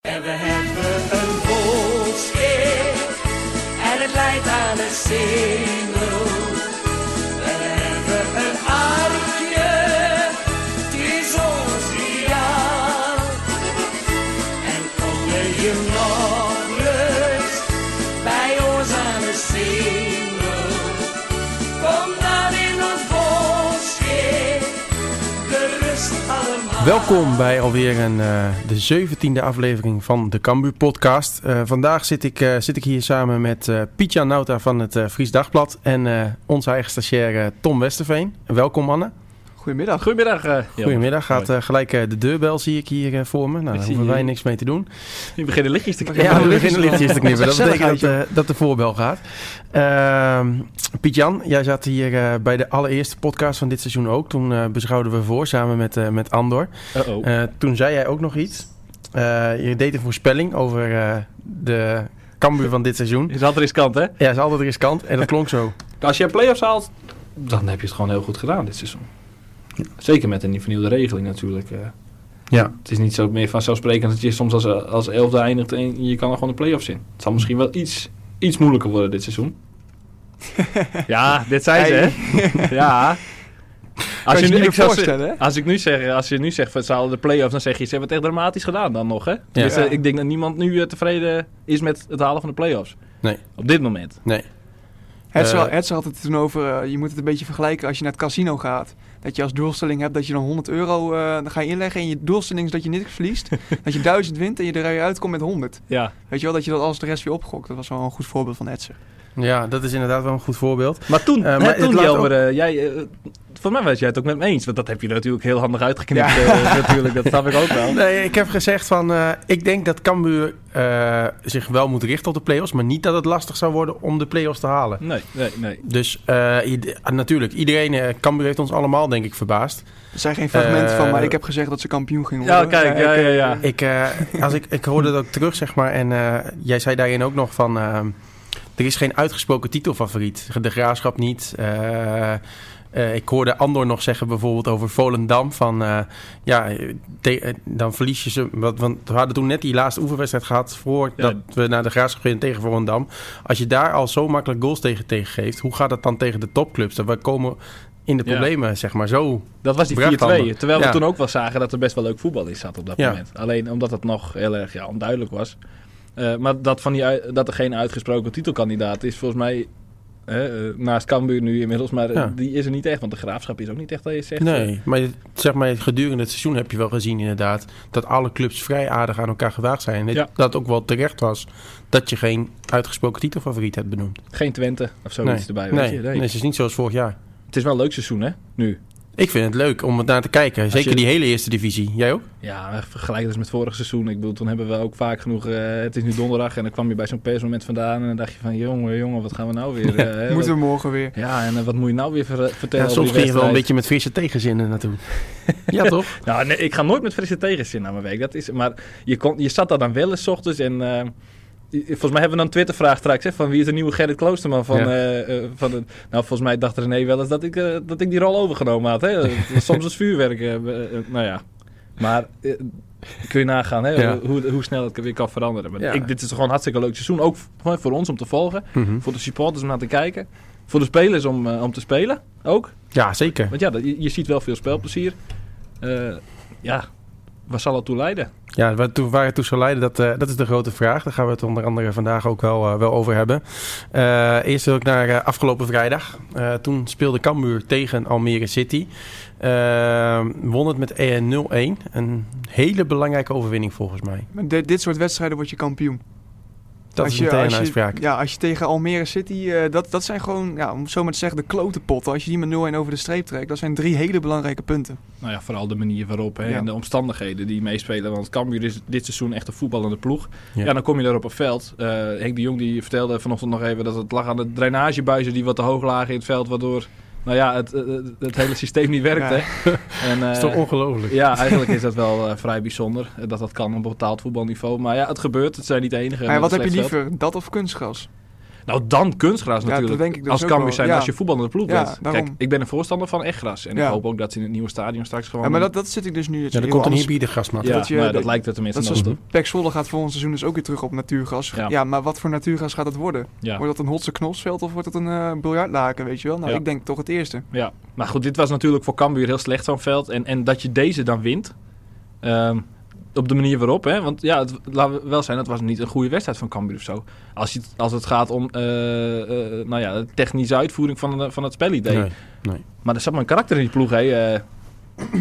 En we hebben een volkslied. En het leidt aan een single. We hebben een armpje. Het is ons ideaal. En kom je je nog eens bij ons aan een single. Kom dan in ons volkslied. De rust allemaal. Welkom bij alweer een, eh, de 17e aflevering van de Cambuur podcast. Eh, vandaag zit ik, eh, zit ik hier samen met eh Piet-Jan Nauta van het eh, Fries Dagblad en eh, onze eigen stagiair eh, Tom Westerveen. Welkom mannen. Goedemiddag. Goedemiddag. eh, Jelmer. Goedemiddag. Gaat Mooi. eh, gelijk eh, de deurbel zie ik hier eh, voor me. Nou, daar zie hoeven wij je. niks mee te doen. Nu beginnen lichtjes te knippen. Ja, we lichtjes beginnen nog. lichtjes te knippen. Dat Wat gezellig betekent dat, eh, dat de voorbel gaat. Ehm Piet-Jan, jij zat hier eh, bij de allereerste podcast van dit seizoen ook. Toen eh, beschouwden we voor samen met, eh, met Andor. Uh-oh. Eh, toen zei jij ook nog iets. Eh, je deed een voorspelling over eh, de Cambuur van dit seizoen. Is altijd riskant, hè? Ja, is altijd riskant. En dat klonk zo. Als je play-offs haalt, dan heb je het gewoon heel goed gedaan dit seizoen. Zeker met een vernieuwde regeling natuurlijk. eh. Ja. Het is niet zo meer vanzelfsprekend dat je soms als, eh, als elfde eindigt en je kan er gewoon de play-offs in. Het zal misschien wel iets, iets moeilijker worden dit seizoen. ja, dit zijn ze, hè? ja. Als je je nu- niet meer ik zou ze- voorstellen, hè? Als ik nu zeg, als je nu zegt, van, ze halen de play-offs, dan zeg je, ze hebben het echt dramatisch gedaan dan nog, hè? Dus eh, Ja. ik denk dat niemand nu eh, tevreden is met het halen van de play-offs. Nee. Op dit moment. Nee. Het is Eh, wel- het is altijd toen over, eh, je moet het een beetje vergelijken als je naar het casino gaat. Dat je als doelstelling hebt dat je dan 100 euro eh, dan ga je inleggen en je doelstelling is dat je niks verliest. dat je 1000 wint en je eruit komt met 100. Ja. Weet je wel, dat je dat als de rest weer opgokt. Dat was wel een goed voorbeeld van Etser. Ja, dat is inderdaad wel een goed voorbeeld. Maar toen, Eh, hè, maar het toen laat Jelmer, eh, jij, eh, voor mij was jij het ook met me eens. Want dat heb je natuurlijk heel handig uitgeknipt. eh, natuurlijk, dat snap ik ook wel. Nee, ik heb gezegd van... eh, ik denk dat Cambuur eh, zich wel moet richten op de play-offs... maar niet dat het lastig zou worden om de play-offs te halen. Nee, nee, nee. Dus eh, ied- ah, natuurlijk, iedereen... eh Cambuur heeft ons allemaal, denk ik, verbaasd. Er zijn geen fragmenten van, maar Eh, ik heb gezegd dat ze kampioen gingen Ja, worden. kijk, ja, ik, ja, eh, ja. Ik, eh, als ik, ik hoorde dat ook terug, zeg maar. En eh, jij zei daarin ook nog van... ehm, er is geen uitgesproken titelfavoriet. De Graafschap niet. Eh, eh, ik hoorde Andor nog zeggen bijvoorbeeld over Volendam. Van eh, ja, te- eh, dan verlies je ze. Want, want we hadden toen net die laatste oefenwedstrijd gehad... voordat we naar de Graafschap gingen tegen Volendam. Als je daar al zo makkelijk goals tegen, tegen geeft... hoe gaat dat dan tegen de topclubs? Dat we komen in de Ja. problemen, zeg maar. Zo Dat was die 4-2. Brachtanden. Terwijl Ja. we toen ook wel zagen dat er best wel leuk voetbal in zat op dat Ja. moment. Alleen omdat het nog heel erg ja, onduidelijk was. Eh, maar dat, van die, ui- dat er geen uitgesproken titelkandidaat is, volgens mij... eh, eh, naast Cambuur nu inmiddels, maar eh, Ja. die is er niet echt. Want de graafschap is ook niet echt dat je zegt... eh, Nee, maar je- zeg maar gedurende het seizoen heb je wel gezien inderdaad dat alle clubs vrij aardig aan elkaar gewaagd zijn. En dit- Ja. dat het ook wel terecht was dat je geen uitgesproken titelfavoriet hebt benoemd. geen Twente of zoiets erbij. Weet nee, je? nee. Nee. het is niet zoals vorig jaar. Het is wel een leuk seizoen, hè? Nu. Ik vind het leuk om het naar te kijken. Zeker je- die hele eerste divisie. Jij ook? Ja, maar vergelijk dat eens met vorig seizoen. Ik bedoel, toen hebben we ook vaak genoeg... eh, het is nu donderdag en dan kwam je bij zo'n persmoment vandaan... en dan dacht je van, jongen, jongen, wat gaan we nou weer... eh, hè, Moeten wat- we morgen weer. Ja, en eh, wat moet je nou weer ver- vertellen Ja, over soms die ging je wel een wedstrijd? beetje met frisse tegenzinnen naartoe. ja, toch? Nou, nee, ik ga nooit met frisse tegenzin naar mijn week. Dat is, maar je, kon, je zat daar dan wel eens 's ochtends en... eh, i- Volgens mij hebben we dan een Twittervraag straks, hè, van wie is de nieuwe Gerrit Kloosterman van... Ja. eh, eh, van de- nou, volgens mij dacht René wel eens dat ik, eh, dat ik die rol overgenomen had. Hè? Soms als vuurwerk, eh, eh, eh, nou ja. Maar eh, kun je nagaan hè, Ja. hoe, hoe snel het weer kan veranderen. Maar Ja. ik, dit is gewoon een hartstikke leuk seizoen, ook voor, voor ons om te volgen. Mhm. Voor de supporters om naar te kijken. Voor de spelers om, eh, om te spelen, ook. Ja, zeker. Want ja, dat- je, je ziet wel veel speelplezier. Eh, ja, waar zal dat toe leiden? Ja, waar, toe, waar het toe zal leiden, dat, eh, dat is de grote vraag. Daar gaan we het onder andere vandaag ook wel, eh, wel over hebben. Eh, eerst wil ik naar eh, afgelopen vrijdag. Eh, toen speelde Cambuur tegen Almere City. Eh, won het met eh, 0-1. Een hele belangrijke overwinning volgens mij. Met dit- dit soort wedstrijden word je kampioen. Dat is meteen een uitspraak. Ja, als je tegen Almere City, eh, dat, dat zijn gewoon, ja, om het zo maar te zeggen, de klotenpotten. Als je die met 0-1 over de streep trekt, dat zijn drie hele belangrijke punten. Nou ja, vooral de manier waarop hè, Ja. en de omstandigheden die meespelen. Want Cambuur is dit seizoen echt een voetballende ploeg. Ja. Ja, dan kom je daar op een veld. Eh Henk de Jong die vertelde vanochtend nog even dat het lag aan de drainagebuizen die wat te hoog lagen in het veld. Waardoor nou ja, het, eh, het, het hele systeem niet werkte. Ja. En, Dat is eh, toch ongelooflijk? ja, eigenlijk is dat wel eh, vrij bijzonder eh, dat dat kan op betaald voetbalniveau. Maar ja, het gebeurt. Het zijn niet de enige. Maar ja, wat heb met een je slecht veld. liever, dat of kunstgras? Nou, dan kunstgras Ja, natuurlijk. dat denk ik dus als ook Cambuur wel. zijn, Ja. als je voetballende ploeg Ja, bent. daarom. Kijk, ik ben een voorstander van echt gras. En Ja. ik hoop ook dat ze in het nieuwe stadion straks gewoon... Ja, maar dat, dat zit ik dus nu. Ja, er komt een hybride grasmat. Ja, dat je- nou, dat- dat lijkt er tenminste Dat wel zoals op. Pek Zwolle gaat volgend seizoen dus ook weer terug op natuurgas. Ja. Ja. maar wat voor natuurgas gaat dat worden? Ja. Wordt dat een hotse knosveld of wordt dat een eh, biljartlaken, weet je wel? Nou, Ja. ik denk toch het eerste. Ja, maar goed, dit was natuurlijk voor Cambuur heel slecht zo'n veld. En, en dat je deze dan wint, ehm, op de manier waarop, hè. Want ja, het, laten we wel zijn, dat was niet een goede wedstrijd van Cambuur of zo. Als, je, het- als het gaat om, eh, eh, nou ja, de technische uitvoering van, eh, van het spelidee. Nee. Maar er zat maar een karakter in die ploeg, hè, eh,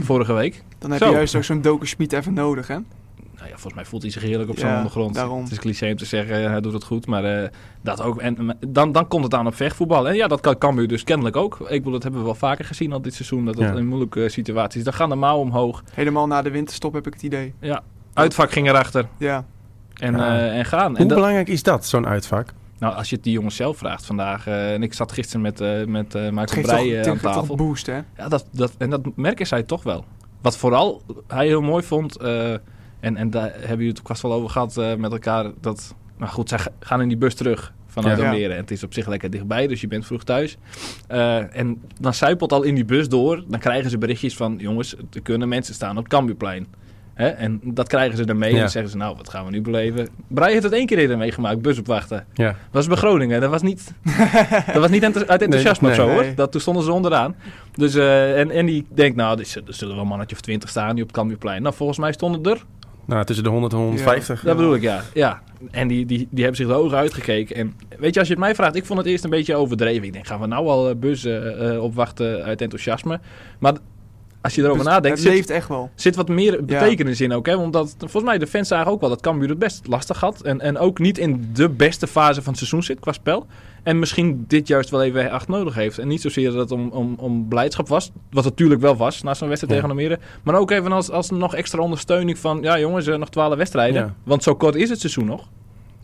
vorige week. Dan heb Zo. je juist ook zo'n dokerschmied even nodig, hè? Nou ja, volgens mij voelt hij zich heerlijk op Ja, zo'n ondergrond. daarom. Het is cliché om te zeggen, eh, hij doet het goed, maar eh, dat ook. En en dan, dan komt het aan op vechtvoetbal. En ja, dat kan Cambuur dus kennelijk ook. Ik bedoel, dat hebben we wel vaker gezien al dit seizoen, dat dat Ja. in moeilijke situaties. Dan gaan de mouwen omhoog. Helemaal na de winterstop heb ik het idee. Uitvak ging erachter Ja, en, Ja. eh, en gaan. Hoe En dat- belangrijk is dat, zo'n uitvak? nou, als je het die jongens zelf vraagt vandaag. eh, en ik zat gisteren met, eh, met eh, het Michael geeft toch, Breij eh, het aan geeft toch tafel. een boost, hè? Ja, dat, dat, en dat merken zij toch wel. Wat vooral hij heel mooi vond, eh, en, en daar hebben jullie het ook vast wel over gehad eh, met elkaar. Dat, maar goed, zij ga- gaan in die bus terug vanuit Ja. Almere. En het is op zich lekker dichtbij, dus je bent vroeg thuis. Eh, en dan zijpelt al in die bus door. Dan krijgen ze berichtjes van, jongens, er kunnen mensen staan op het Cambuurplein. Hè? En dat krijgen ze dan mee. En Ja. dan zeggen ze, nou, wat gaan we nu beleven? Brei heeft het één keer eerder meegemaakt, bus opwachten. Ja. was bij Groningen. Dat was niet, dat was niet enthou- uit enthousiasme Nee, of zo, nee. hoor. Dat, toen stonden ze onderaan. Dus, eh, en, en die denkt, nou, er zullen- er zullen wel een mannetje of twintig staan die op het Cambuurplein. Nou, volgens mij stonden er, Nou, tussen de 100 en 150. dat bedoel ik, ja. ja. En die, die, die hebben zich de ogen uitgekeken. En weet je, als je het mij vraagt, ik vond het eerst een beetje overdreven. Ik denk, gaan we nou al eh, bussen eh, opwachten uit enthousiasme? Maar d- als je erover Dus nadenkt, het zit, leeft echt wel. zit wat meer betekenis in ook. Hè? Omdat volgens mij de fans zagen ook wel dat Cambuur het best lastig had. En, en ook niet in de beste fase van het seizoen zit qua spel. En misschien dit juist wel even acht nodig heeft. En niet zozeer dat het om, om, om blijdschap was. Wat het natuurlijk wel was na zo'n wedstrijd Ja. tegen Almere. Maar ook even als, als nog extra ondersteuning van... Ja jongens, eh, nog twaalf wedstrijden. Ja. Want zo kort is het seizoen nog.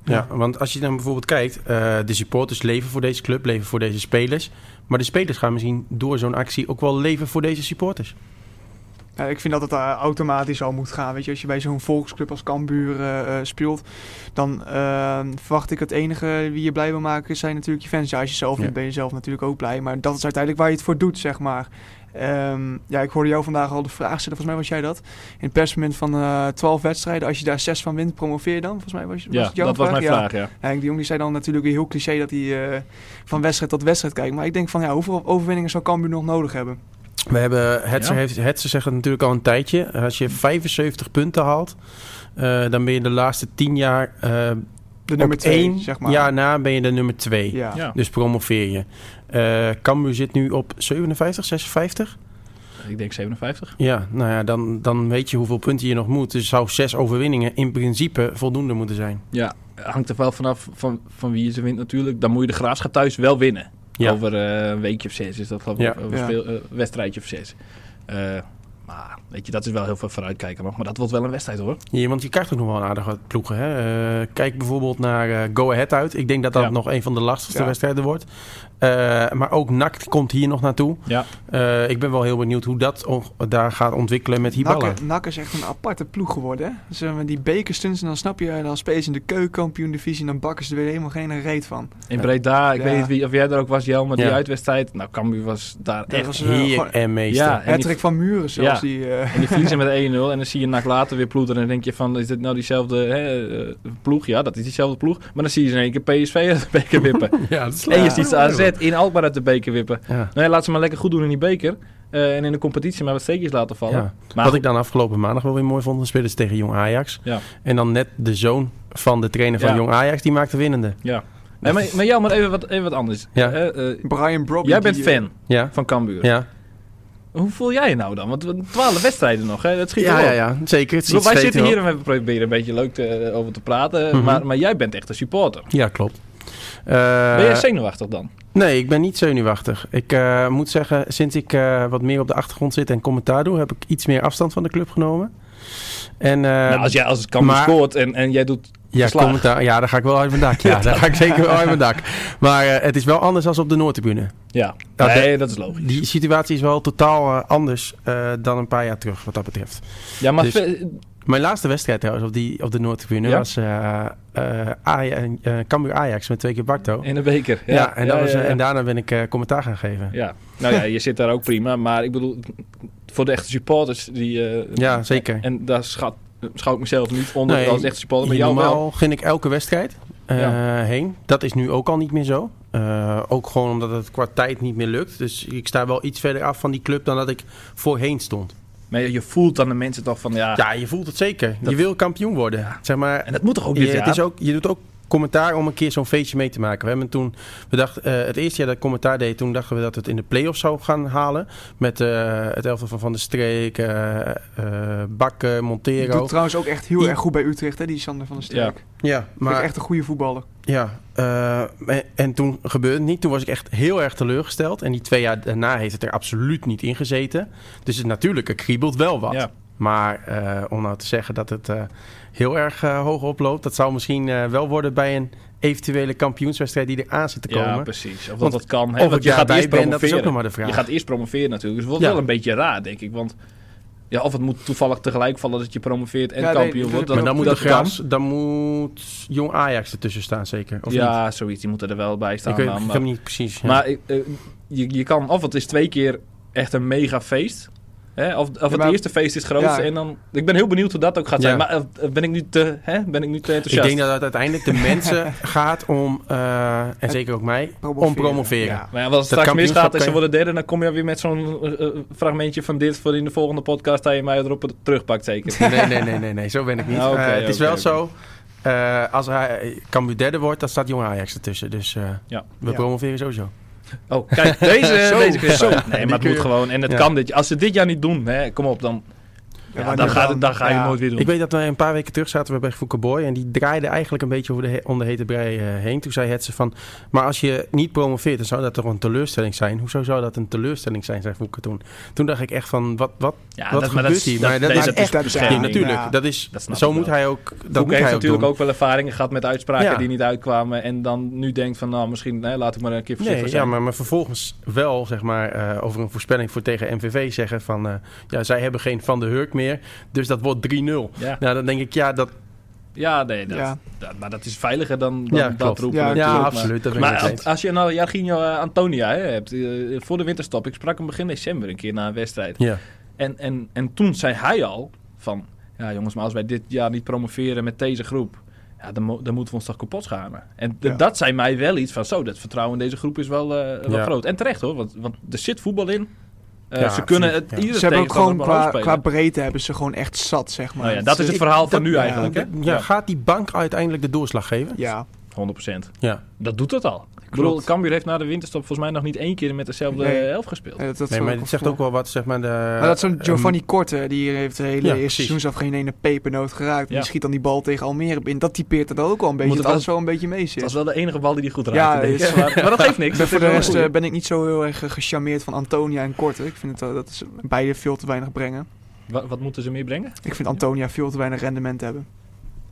Ja, want als je dan bijvoorbeeld kijkt, eh, de supporters leven voor deze club, leven voor deze spelers. Maar de spelers gaan misschien door zo'n actie ook wel leven voor deze supporters. Ja, ik vind dat het eh, automatisch al moet gaan. Weet je, als je bij zo'n volksclub als Cambuur eh, eh, speelt, dan eh, verwacht ik het enige wie je blij wil maken zijn natuurlijk je fans. Ja, als je zelf Ja. bent, ben je zelf natuurlijk ook blij. Maar dat is uiteindelijk waar je het voor doet, zeg maar. Ehm, ja, ik hoorde jou vandaag al de vraag stellen, volgens mij was jij dat. In het persmoment van eh 12 wedstrijden, als je daar 6 van wint, promoveer je dan? Volgens mij was, was Ja, het jouw dat was vraag? mijn Ja. vraag, ja. Ja, Henk de Jong die zei dan natuurlijk weer heel cliché dat hij eh, van wedstrijd tot wedstrijd kijkt. Maar ik denk van ja, hoeveel overwinningen zou Cambuur nog nodig hebben? We hebben, Hetzer, Ja. heeft, Hetzer zegt het natuurlijk al een tijdje. Als je 75 punten haalt, eh, dan ben je de laatste 10 jaar eh, De nummer op 2, één zeg maar. jaar na ben je de nummer 2. ja. Ja. Dus promoveer je. Eh Cambuur zit nu op 57, 56. Ik denk 57. Ja, nou ja, dan, dan weet je hoeveel punten je nog moet. Dus zou zes overwinningen in principe voldoende moeten zijn. Ja, hangt er wel vanaf van, van wie je ze wint natuurlijk. Dan moet je de Graafschap thuis wel winnen. Ja. Over eh, een weekje of zes is dat geloof ik. Ja. Of een Ja. speel- eh, wedstrijdje of zes. Eh, maar weet je, dat is wel heel veel vooruitkijken nog. Maar dat wordt wel een wedstrijd hoor. Ja, want je krijgt ook nog wel een aardige wat ploegen. Hè? Eh, kijk bijvoorbeeld naar eh, Go Ahead uit. Ik denk dat dat Ja. nog een van de lastigste Ja. wedstrijden wordt. Eh, maar ook NAC komt hier nog naartoe. Ja. Eh, ik ben wel heel benieuwd hoe dat on- daar gaat ontwikkelen met Hibala. Nak, Nak is echt een aparte ploeg geworden. Hè? Ze hebben die bekerstunts en dan snap je, dan spelen ze in de keukenkampioen-divisie en dan bakken ze er weer helemaal geen reet van. In Breda, ik Ja. weet niet wie, of jij daar ook was, Jel, maar die Ja. uitwedstrijd. Nou, Cambuur was daar Dat echt. was, eh, Hier gewoon- en meester. Ja. en die- Hattrick van Muren zelfs. Ja. Die, eh, En die verliezen met 1-0 en dan zie je een nacht later weer ploeteren. En dan denk je van, is dit nou diezelfde hè, eh, ploeg? Ja, dat is diezelfde ploeg. Maar dan zie je ze in één keer PSV uit de beker wippen. Ja, dat is en je ziet ze AZ in Alkmaar uit de beker wippen. Ja. Nou ja, laat ze maar lekker goed doen in die beker. eh, en in de competitie maar wat steekjes laten vallen. Ja. Maar wat ik dan afgelopen maandag wel weer mooi vond, dan speelden ze tegen Jong Ajax. Ja. En dan net de zoon van de trainer van Ja. Jong Ajax, die maakte winnende. Ja. Nee, maar, maar jou, maar even wat, even wat anders. Ja. Eh, eh, Brian Brobby. jij bent die, eh, fan Ja, van Cambuur. ja. Hoe voel jij je nou dan? Want we- twaalf wedstrijden nog, hè? dat schiet ja, wel op. ja, ja, zeker. Het Ik bedoel, schiet Wij steeds zitten wel. hier en we proberen een beetje leuk te- eh, over te praten. Mhm. maar, maar jij bent echt een supporter. Ja, klopt. Eh, ben jij zenuwachtig dan? Nee, ik ben niet zenuwachtig. Ik eh, moet zeggen, sinds ik eh, wat meer op de achtergrond zit en commentaar doe, heb ik iets meer afstand van de club genomen. En, eh, nou, als jij als het Cambuur maar- scoort en, en jij doet... ja, verslagen. commentaar, ja, daar ga ik wel uit mijn dak. Ja, daar ga ik zeker wel uit mijn dak. Maar eh, het is wel anders dan op de Noordtribune. Ja, Nou, nee, dat is logisch. Die situatie is wel totaal eh, anders eh, dan een paar jaar terug, wat dat betreft. Ja, maar Dus- ve- Mijn laatste wedstrijd trouwens op, die, op de Noordtribune Ja? was eh eh Aja- eh, Cambuur Ajax met twee keer Bakto. In de beker. Ja, en, dat was, eh, en daarna ben ik eh, commentaar gaan geven. Ja. nou ja, je zit daar ook prima. Maar ik bedoel, voor de echte supporters die... eh, Ja, zeker. En daar schat, schouw ik mezelf niet onder Nee, als echte supporter, maar Hier jou wel. normaal gun ik elke wedstrijd eh, Ja. heen. Dat is nu ook al niet meer zo. Eh, ook gewoon omdat het qua tijd niet meer lukt. Dus ik sta wel iets verder af van die club dan dat ik voorheen stond. Maar je voelt dan de mensen toch van, ja... Ja, je voelt het zeker. Dat- Je wil kampioen worden. Zeg maar, En dat moet toch ook je, dit jaar? het is ook, je doet ook commentaar om een keer zo'n feestje mee te maken. We hebben toen, we dachten, eh, het eerste jaar dat ik commentaar deed, toen dachten we dat we het in de play-offs zou gaan halen. Met eh, het elftal van Van der Streek, eh, eh, Bakken, Die Montero. doet trouwens ook echt heel Die- erg goed bij Utrecht, hè, die Sander van der Streek. Ja, Maar maar echt een goede voetballer. Ja, eh, en, en toen gebeurde het niet. Toen was ik echt heel erg teleurgesteld. En die twee jaar daarna heeft het er absoluut niet in gezeten. Dus het natuurlijke kriebelt wel wat. Ja. Maar eh, om nou te zeggen dat het eh, heel erg eh, hoog oploopt... dat zou misschien eh, wel worden bij een eventuele kampioenswedstrijd die eraan zit te komen. Ja, precies. Of dat Want dat kan. Hè? of Want ik je gaat daarbij eerst ben, dat is promoveren. ook nog maar de vraag. Je gaat eerst promoveren natuurlijk. Dus het wordt Ja. wel een beetje raar, denk ik. Want ja, of het moet toevallig tegelijk vallen dat je promoveert en Ja, nee, kampioen dat- wordt. dat- maar dan moet, de dat kan. Graafs- dan moet Jong Ajax ertussen staan zeker, of niet? Ja, zoiets. Die moeten er wel bij staan. Ik weet dan, ik maar- heb hem niet precies. ja. Maar eh, eh, je, je kan, of het is twee keer echt een mega feest. Hè? Of, of het maar- eerste feest is het grootste. Ja. En dan, ik ben heel benieuwd hoe dat ook gaat zijn. Ja. Maar eh, ben, ik nu te, hè? ben ik nu te ik enthousiast? denk dat het uiteindelijk de mensen gaat om, eh, en zeker ook mij, om promoveren. Ja. Maar ja, wat als het Dat straks kampioenschap misgaat en kan ze je- worden derde, dan kom je weer met zo'n eh, eh, fragmentje van dit voor in de volgende podcast dat je mij erop terugpakt Nee, zeker. nee, nee, nee, nee, zo ben ik niet. Ah, oké, Eh, het is oké, wel oké. zo. eh, als hij Cambuur derde wordt, dan staat Jong Ajax ertussen. Dus eh, Ja. we Ja. promoveren sowieso. Oh, kijk, deze, Zo, deze kun je- zo. Nee, Die maar het kun moet je- gewoon. En het Ja. kan dit. Als ze dit jaar niet doen, hè, kom op, dan, ja, wanneer dan, gaat, dan? het- dan ga je het Ja. nooit weer doen. Ik weet dat wij een paar weken terug zaten we bij Fouke Boy. En die draaide eigenlijk een beetje over de he- om de hete brei eh, heen. Toen zei het ze van, maar als je niet promoveert, dan zou dat toch een teleurstelling zijn. Hoezo zou dat een teleurstelling zijn, zei Fouke toen. Toen dacht ik echt van, wat, wat? ja, wat maar gebeurt hier? Maar dat nee, is echt de dat- Ja, Nee, bescherming. eh. natuurlijk, ja. dat is, Dat snap zo ik moet wel. hij ook, dat Koek moet heeft hij ook natuurlijk doen. ook wel ervaringen gehad met uitspraken Ja. die niet uitkwamen. En dan nu denkt van, nou, misschien hè, laat ik maar een keer voorzichtig Nee, zijn. ja, maar, maar vervolgens wel zeg maar, eh, over een voorspelling voor tegen MVV zeggen van... eh, ja, zij hebben geen Van de Hurk meer, dus dat wordt 3-0. Nou, Ja, dan denk ik, ja, dat... ja nee, dat, Ja. dat- maar dat is veiliger dan, dan Ja, dat klopt. roepen. Ja, natuurlijk, ja, maar- absoluut. Dat Maar maar, als- als je nou Jarginho eh, Antonia hè, hebt, eh, voor de winterstop, ik sprak hem begin december een keer na een wedstrijd. ja. En, en, en toen zei hij al van... Ja, jongens, maar als wij dit jaar niet promoveren met deze groep... Ja, dan, mo- dan moeten we ons toch kapot schamen. En d- Ja. dat zei mij wel iets van... Zo, dat vertrouwen in deze groep is wel, eh, wel Ja. groot. En terecht hoor, want, want er zit voetbal in. Eh, Ja, ze kunnen het absoluut, ja. iedere Ze hebben ook gewoon tegenstander maar qua, qua afspelen. breedte hebben ze gewoon echt zat, zeg maar. Nou ja, dat is het Ik- verhaal van dat- nu ja. eigenlijk. Hè? Ja, gaat die bank uiteindelijk de doorslag geven? Ja, 100%. Ja. Dat doet het al. Ik bedoel, Klopt. Cambuur heeft na de winterstop volgens mij nog niet één keer met dezelfde Nee. eh, elf gespeeld. eh, dat, Nee, dat zal maar ik het zegt wel- ook wel wat, zeg maar... De, Ehm, Maar dat zo'n Giovanni Korte, die heeft het hele Eh, ja, eerste precies. seizoen zelf geen ene pepernoot geraakt. En Ja. Die schiet dan die bal tegen Almere in. Dat typeert het ook wel een beetje, Moet het dat alles wel- wel een beetje mee Dat zit. was wel de enige bal die hij goed Ja, raakte. denk ik. is- maar, maar dat geeft Ik ben niks. Dat voor de is wel rest goed. eh, ben ik niet zo heel erg eh, gecharmeerd van Antonia en Korte. Ik vind het, eh, dat ze beide veel te weinig brengen. Wat, wat moeten ze meer brengen? Ik vind Antonia veel te weinig rendement hebben.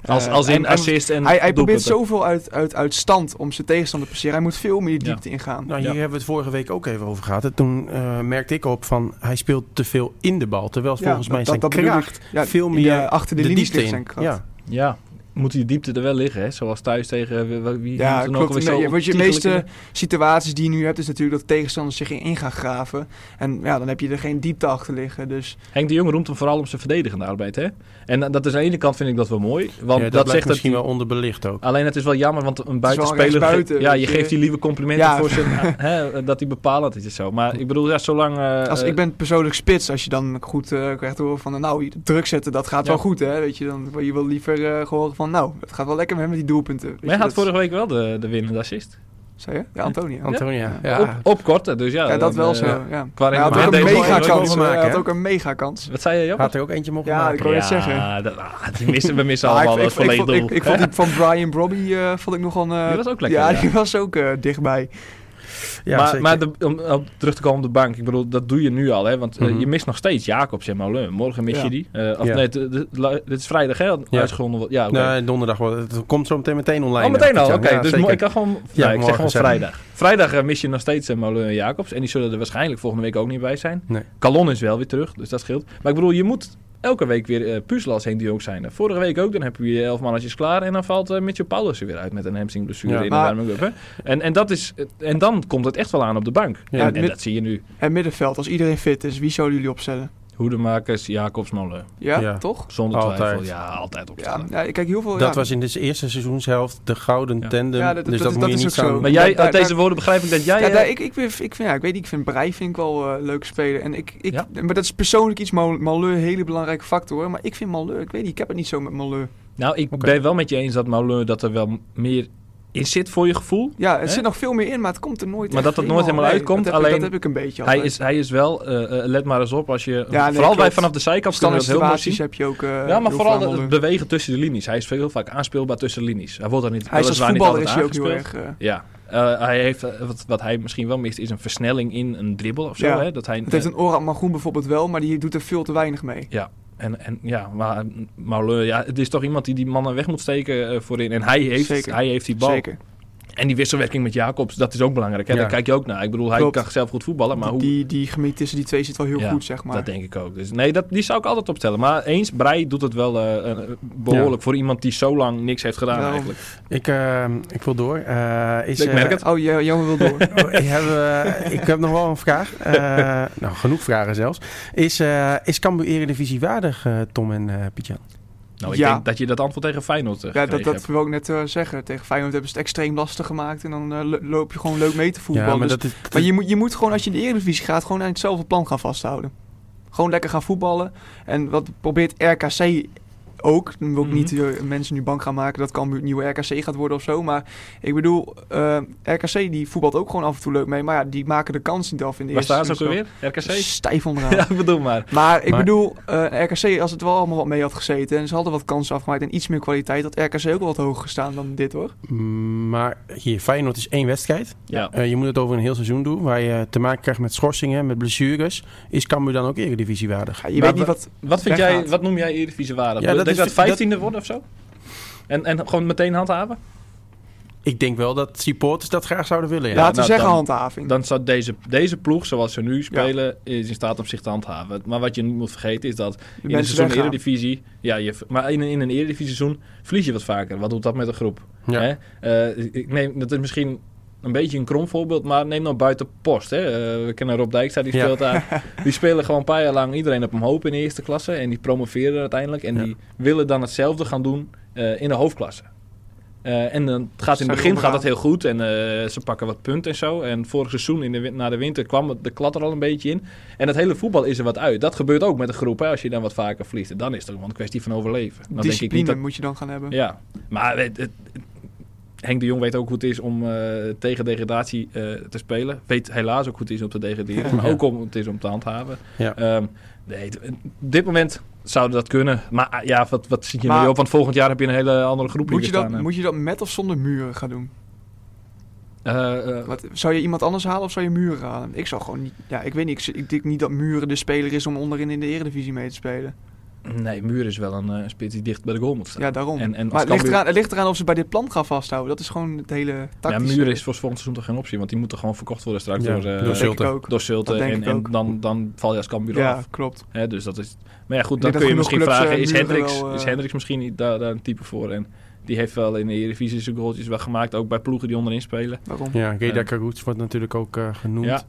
Als, Eh, als in en- en assist en Hij, hij probeert doelpunten. zoveel uit, uit, uit stand om zijn tegenstander te passeren. Hij moet veel meer die Ja. diepte ingaan. Nou, hier Ja. hebben we het vorige week ook even over gehad. En Toen eh, merkte ik op van, hij speelt te veel in de bal. Terwijl Ja, volgens mij dat- zijn dat bedoel kracht ik. Ja, veel in meer de- achter de, linies diepte ligt in. zijn kracht. Ja. Ja, moet die diepte er wel liggen, hè? Zoals thuis tegen eh, wie- wie Ja, moet dan klopt. ook alweer Nee, zo want je ontiegelijk meeste in situaties die je nu hebt, is natuurlijk dat tegenstanders zich in gaan graven. En ja, dan heb je er geen diepte achter liggen. Dus de- Henk de Jong roemt hem vooral om zijn verdedigende arbeid, hè? En eh, dat is aan de ene kant vind ik dat wel mooi, want Ja, dat, dat, zegt lijkt dat... misschien wel onderbelicht ook. Alleen het is wel jammer, want een buitenspeler... rechtsbuiten, ja, weet je je. geeft die lieve complimenten Ja. voor zijn... eh, hè, dat hij bepalend is en zo. Maar ik bedoel, ja, zolang... eh, als, ik ben persoonlijk spits, als je dan goed eh, krijgt te horen van, nou, druk zetten, dat gaat Ja. wel goed, hè. Weet je, dan wil je wel liever eh, gehoord van, nou, het gaat wel lekker met hem met die doelpunten. Weet Maar hij je, had dat- vorige week wel de, de winnende assist. Zei je? Ja, Antonia. eh, Ja, Antonia, ja. Op, op korte, dus ja. dat dan, wel eh, zo, ja. Qua Hij had maar ook een deze rendement- goal- mega deze goal kans. van maken, Hij had hè? ook een mega kans. Wat zei je, Job? Had er ook eentje mogen Ja, maken. ik wou net Ja, zeggen. dat, ah, die missen, we missen allemaal ik, dat ik, ik, volledig vond, doel. ik, ik vond die van Brian Robbie eh, vond ik nogal een... eh, Die was ook lekker, Ja, ja. die was ook eh, dichtbij. Ja, maar zeker. maar de- om op terug te komen op de bank, ik bedoel, dat doe je nu al, hè? Want eh, Mhm. je mist nog steeds Jacobs en Molen. Morgen mis Ja. je die. Eh, of Ja. nee, de- de- la- dit is vrijdag, hè? Ja. Uitgezonden wordt. Ja, oké. Nou, Nee, donderdag. wel. Het komt zo meteen meteen online. Oh, meteen al. Ja, Oké, ja, dus zeker. mo- ik kan gewoon. Ja, nee, ik zeg morgen gewoon zijn we. vrijdag. Vrijdag eh, mis je nog steeds uh, Molen en Jacobs. En die zullen er waarschijnlijk volgende week ook niet bij zijn. Nee. Calon is wel weer terug, dus dat scheelt. Maar ik bedoel, je moet elke week weer eh, puzzelen als Henk de Jong zijn. Eh, Vorige week ook, dan heb je je elf mannetjes klaar en dan valt eh, Mitchell Paulus er weer uit met een hamstringblessure Ja, in maar- de warming-up. hè. En, en, dat is, en dan komt het echt wel aan op de bank. Ja, en, en met- dat zie je nu. En middenveld, als iedereen fit is, wie zouden jullie opstellen? Hoedemakers, Jacobs, Molen. Ja, Ja. toch? Zonder Altijd. twijfel, ja, altijd op Ja, ja, ik kijk heel veel... Dat ja. was in de eerste seizoenshelft de gouden Ja. tandem. Ja, dat- dus dat dat, is- moet dat je is niet ook zo. zo. Maar jij, Ja, daar- uit deze woorden begrijp ik dat jij... Ja, eh, daar, ik, ik, vind- ik, vind, ja, ik weet niet, ik vind Breij vind ik wel eh, leuk spelen. En ik, ik, Ja. Maar dat is persoonlijk iets, Mal- Malheur, een hele belangrijke factor. hoor. Maar ik vind Malheur, ik weet niet, ik heb het niet zo met Malheur. Nou, ik Oké. ben wel met je eens dat Molen dat er wel meer in zit voor je gevoel. Ja, er Hè? zit nog veel meer in, maar het komt er nooit Maar echt dat het nooit helemaal Nee, uitkomt, dat heb, ik- alleen- Dat heb ik een beetje Hij altijd. is, hij is wel, eh, eh, let maar eens op, als je, nee, vooral klopt. wij vanaf de zijkant kunnen Standaard dat heel mooi zien. situaties heb je ook eh, Ja, maar heel vooral veel aan dat het Malheur. bewegen tussen de linies. Hij is heel vaak aanspeelbaar tussen de linies. Hij wordt daar niet, Hij is als weliswaar niet voetballer is altijd hij ook heel aangespeeld. erg... eh, Ja, Eh, hij heeft, eh, wat, wat hij misschien wel mist, is een versnelling in een dribbel of zo. Ja. Hè? Dat hij, het heeft een Oran Magroen bijvoorbeeld wel, maar die doet er veel te weinig mee. En, en ja, maar mm, Mauleur, ja, het is toch iemand die die mannen weg moet steken eh, voorin. En hij heeft, Zeker. hij heeft die bal. Zeker. En die wisselwerking met Jacobs, dat is ook belangrijk. Hè? Ja. Daar kijk je ook naar. Ik bedoel, hij Klopt. kan zelf goed voetballen, maar hoe... Die, die gemiet tussen die twee zit wel heel Ja, goed, zeg maar. Dat denk ik ook. Dus nee, dat, die zou ik altijd opstellen. Maar eens, Brei doet het wel eh, eh, behoorlijk voor iemand die zo lang niks heeft gedaan Daarom. eigenlijk. Ik, eh, ik wil door. Eh, is, Ik eh, merk het. Oh, jij- Johan wil door. Oh, ik, heb, eh, ik heb nog wel een vraag. Eh, nou, genoeg vragen zelfs. Is, eh is Cambuur Eredivisie waardig, eh, Tom en eh Piet-Jan? Nou, ik Ja. denk dat je dat antwoord tegen Feyenoord eh, Ja, dat, gekregen dat wil ik net eh, zeggen. Tegen Feyenoord hebben ze het extreem lastig gemaakt. En dan eh, lo- loop je gewoon leuk mee te voetballen. ja, maar, Dus- dat is, maar je, moet, je moet gewoon, als je in de Eredivisie gaat, gewoon aan hetzelfde plan gaan vasthouden. Gewoon lekker gaan voetballen. En wat probeert RKC ook. Dan wil ik Mhm. niet eh, mensen nu bang gaan maken dat Cambuur het nieuwe RKC gaat worden of zo. Maar ik bedoel, eh, RKC die voetbalt ook gewoon af en toe leuk mee. Maar ja, die maken de kans niet af in de hebt. Waar eerste staan ze ook instantie. alweer? RKC? Stijf onderaan. ja, ik bedoel maar. Maar ik Maar- bedoel, eh, RKC, als het wel allemaal wat mee had gezeten en ze hadden wat kansen afgemaakt en iets meer kwaliteit, had RKC ook wel wat hoger gestaan dan dit hoor. Mm, maar hier, Feyenoord is één wedstrijd. Ja. Eh, je moet het over een heel seizoen doen. Waar je te maken krijgt met schorsingen, met blessures. Is Cambuur dan ook Eredivisie waardig? Ja, je Maar weet niet wat. Wat, vind Weggaat. jij, wat noem jij Eredivisie Ja, waardig? denk dat je is- dat vijftiende wordt of zo? En, en gewoon meteen handhaven? Ik denk wel dat supporters dat graag zouden willen. Ja. Laten we nou, zeggen dan- handhaving. Dan zou deze, deze ploeg, zoals ze nu spelen, is in staat om zich te handhaven. Maar wat je niet moet vergeten is dat De in een mensen seizoen weggaan. Eredivisie... Ja, je, maar in, een- in een Eredivisie seizoen verlies je wat vaker. Wat doet dat met een groep? Ja. Hè? Eh, ik neem, dat is misschien een beetje een krom voorbeeld, maar neem nou buiten post. Hè? Eh, we kennen Rob Dijkstra, die Ja. speelt daar. Die spelen gewoon een paar jaar lang iedereen op hem hoop in de eerste klasse. En die promoveren uiteindelijk. En Ja. die willen dan hetzelfde gaan doen eh, in de hoofdklasse. Eh, en dan gaat in Zijn het begin onderaan. gaat dat heel goed en eh, ze pakken wat punten en zo. En vorig seizoen, in de, win- na de winter, kwam het- de klad er al een beetje in. En het hele voetbal is er wat uit. Dat gebeurt ook met een groep, hè, als je dan wat vaker verliest. En dan is het gewoon een kwestie van overleven. Dan denk ik Discipline niet dat moet je dan gaan hebben. ja, maar het, het- het- Henk de Jong weet ook hoe het is om eh, tegen degradatie eh, te spelen. Weet helaas ook hoe het is om te degraderen, maar Ja. ook om het is om te handhaven. Ja. Ehm, nee, het- op dit moment zouden dat kunnen. Maar ah, ja, wat, wat zie je Maar- nu op? Want volgend jaar heb je een hele andere groep Moet, hier je dat, staan. moet je dat met of zonder muren gaan doen? Eh, eh, Wat, zou je iemand anders halen of zou je muren halen? Ik zou gewoon niet. Ja, ik weet niet. Ik, ik denk niet dat muren de speler is om onderin in de Eredivisie mee te spelen. nee, Muur is wel een eh, spits die dicht bij de goal moet staan. Ja, daarom. En- en als maar het ligt, Cambuur- eraan, het ligt eraan of ze bij dit plan gaan vasthouden. Dat is gewoon het hele Ja, tactische. Muur is voor volgend seizoen toch geen optie, want die moeten gewoon verkocht worden straks Ja, door, eh, door Dat denk ik Zulte. ook. door Zulte. Dat denk En, ik en ook. dan, dan val je als kampioen af. Ja, klopt. Hè, dus dat is. Maar ja, Ik goed, denk dat dan kun je genoeg misschien clubs, vragen: eh, is Muren Hendricks, wel, eh, is Hendricks misschien niet daar, daar een type voor? En die heeft wel in de Eredivisie zijn goaltjes wel gemaakt, ook bij ploegen die onderin spelen. Waarom? Ja, Reda Ja. Karoets wordt natuurlijk ook eh, genoemd. Ja,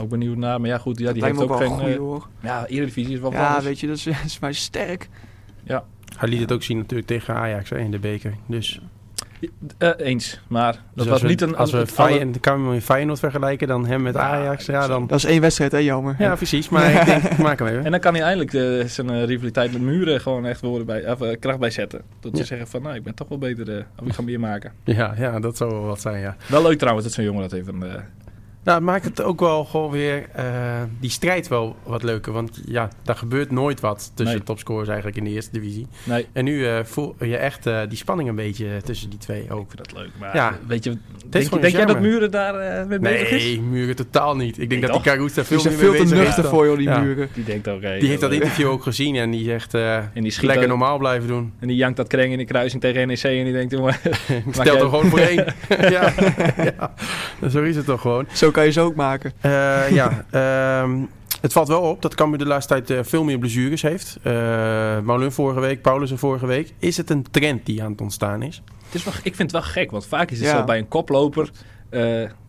ook benieuwd naar. Maar ja, goed, ja, die Lijkt heeft me ook ook wel geen. een goeie eh, hoor. ja, Eredivisie is wel Ja, ja, weet je, dat is, dat is maar sterk. Hij liet het ook zien natuurlijk tegen Ajax hè, in de beker. Dus, eh, Eens, maar dat dus als was we, niet een. Als we het alle- Feyenoord, Cambuur en Feyenoord vergelijken, dan hem met Ja, Ajax. Ja, dat- dan... Dat is één wedstrijd, hè, jammer. Ja, precies. Maar ik denk, ik maak hem even. En dan kan hij eindelijk eh, zijn eh, rivaliteit met Muren gewoon echt woorden bij, of, eh, kracht bij zetten. Dat ze Ja. zeggen van, nou, ik ben toch wel beter, eh, of ik ga meer maken. Ja, ja, dat zou wel wat zijn, ja. Wel leuk trouwens dat zo'n jongen dat heeft. een, eh, Nou, het maakt het ook wel gewoon weer eh, die strijd wel wat leuker. Want ja, daar gebeurt nooit wat tussen Nee. de topscorers eigenlijk in de eerste divisie. nee, En nu eh, voel je echt eh, die spanning een beetje tussen die twee ook. ik vind dat leuk. Maar Ja. weet je, denk, gewoon je- een denk jij dat charme. Muren daar eh, mee bezig is? Nee, Muren totaal niet. Ik denk Ik dat die toch? Karoes daar Die veel zijn meer veel te mee bezig is nuchter dan- voor, joh, die Ja. muren. Die denkt ook, hey, Die heeft dat eh, interview ook gezien en die zegt eh, En die schiet lekker ook- normaal blijven doen. En die jankt dat kreng in de kruising tegen NEC en die denkt, jongen, Ik jij- stel er gewoon voor één. ja. ja, zo is het toch gewoon. Zo kan je ze ook maken. Eh, ja, ehm, Het valt wel op dat Cambuur de laatste tijd eh, veel meer blessures heeft. Eh Maulun vorige week, Paulussen vorige week. Is het een trend die aan het ontstaan is? Het is wel, ik vind het wel gek, want vaak is het Ja. zo bij een koploper. eh,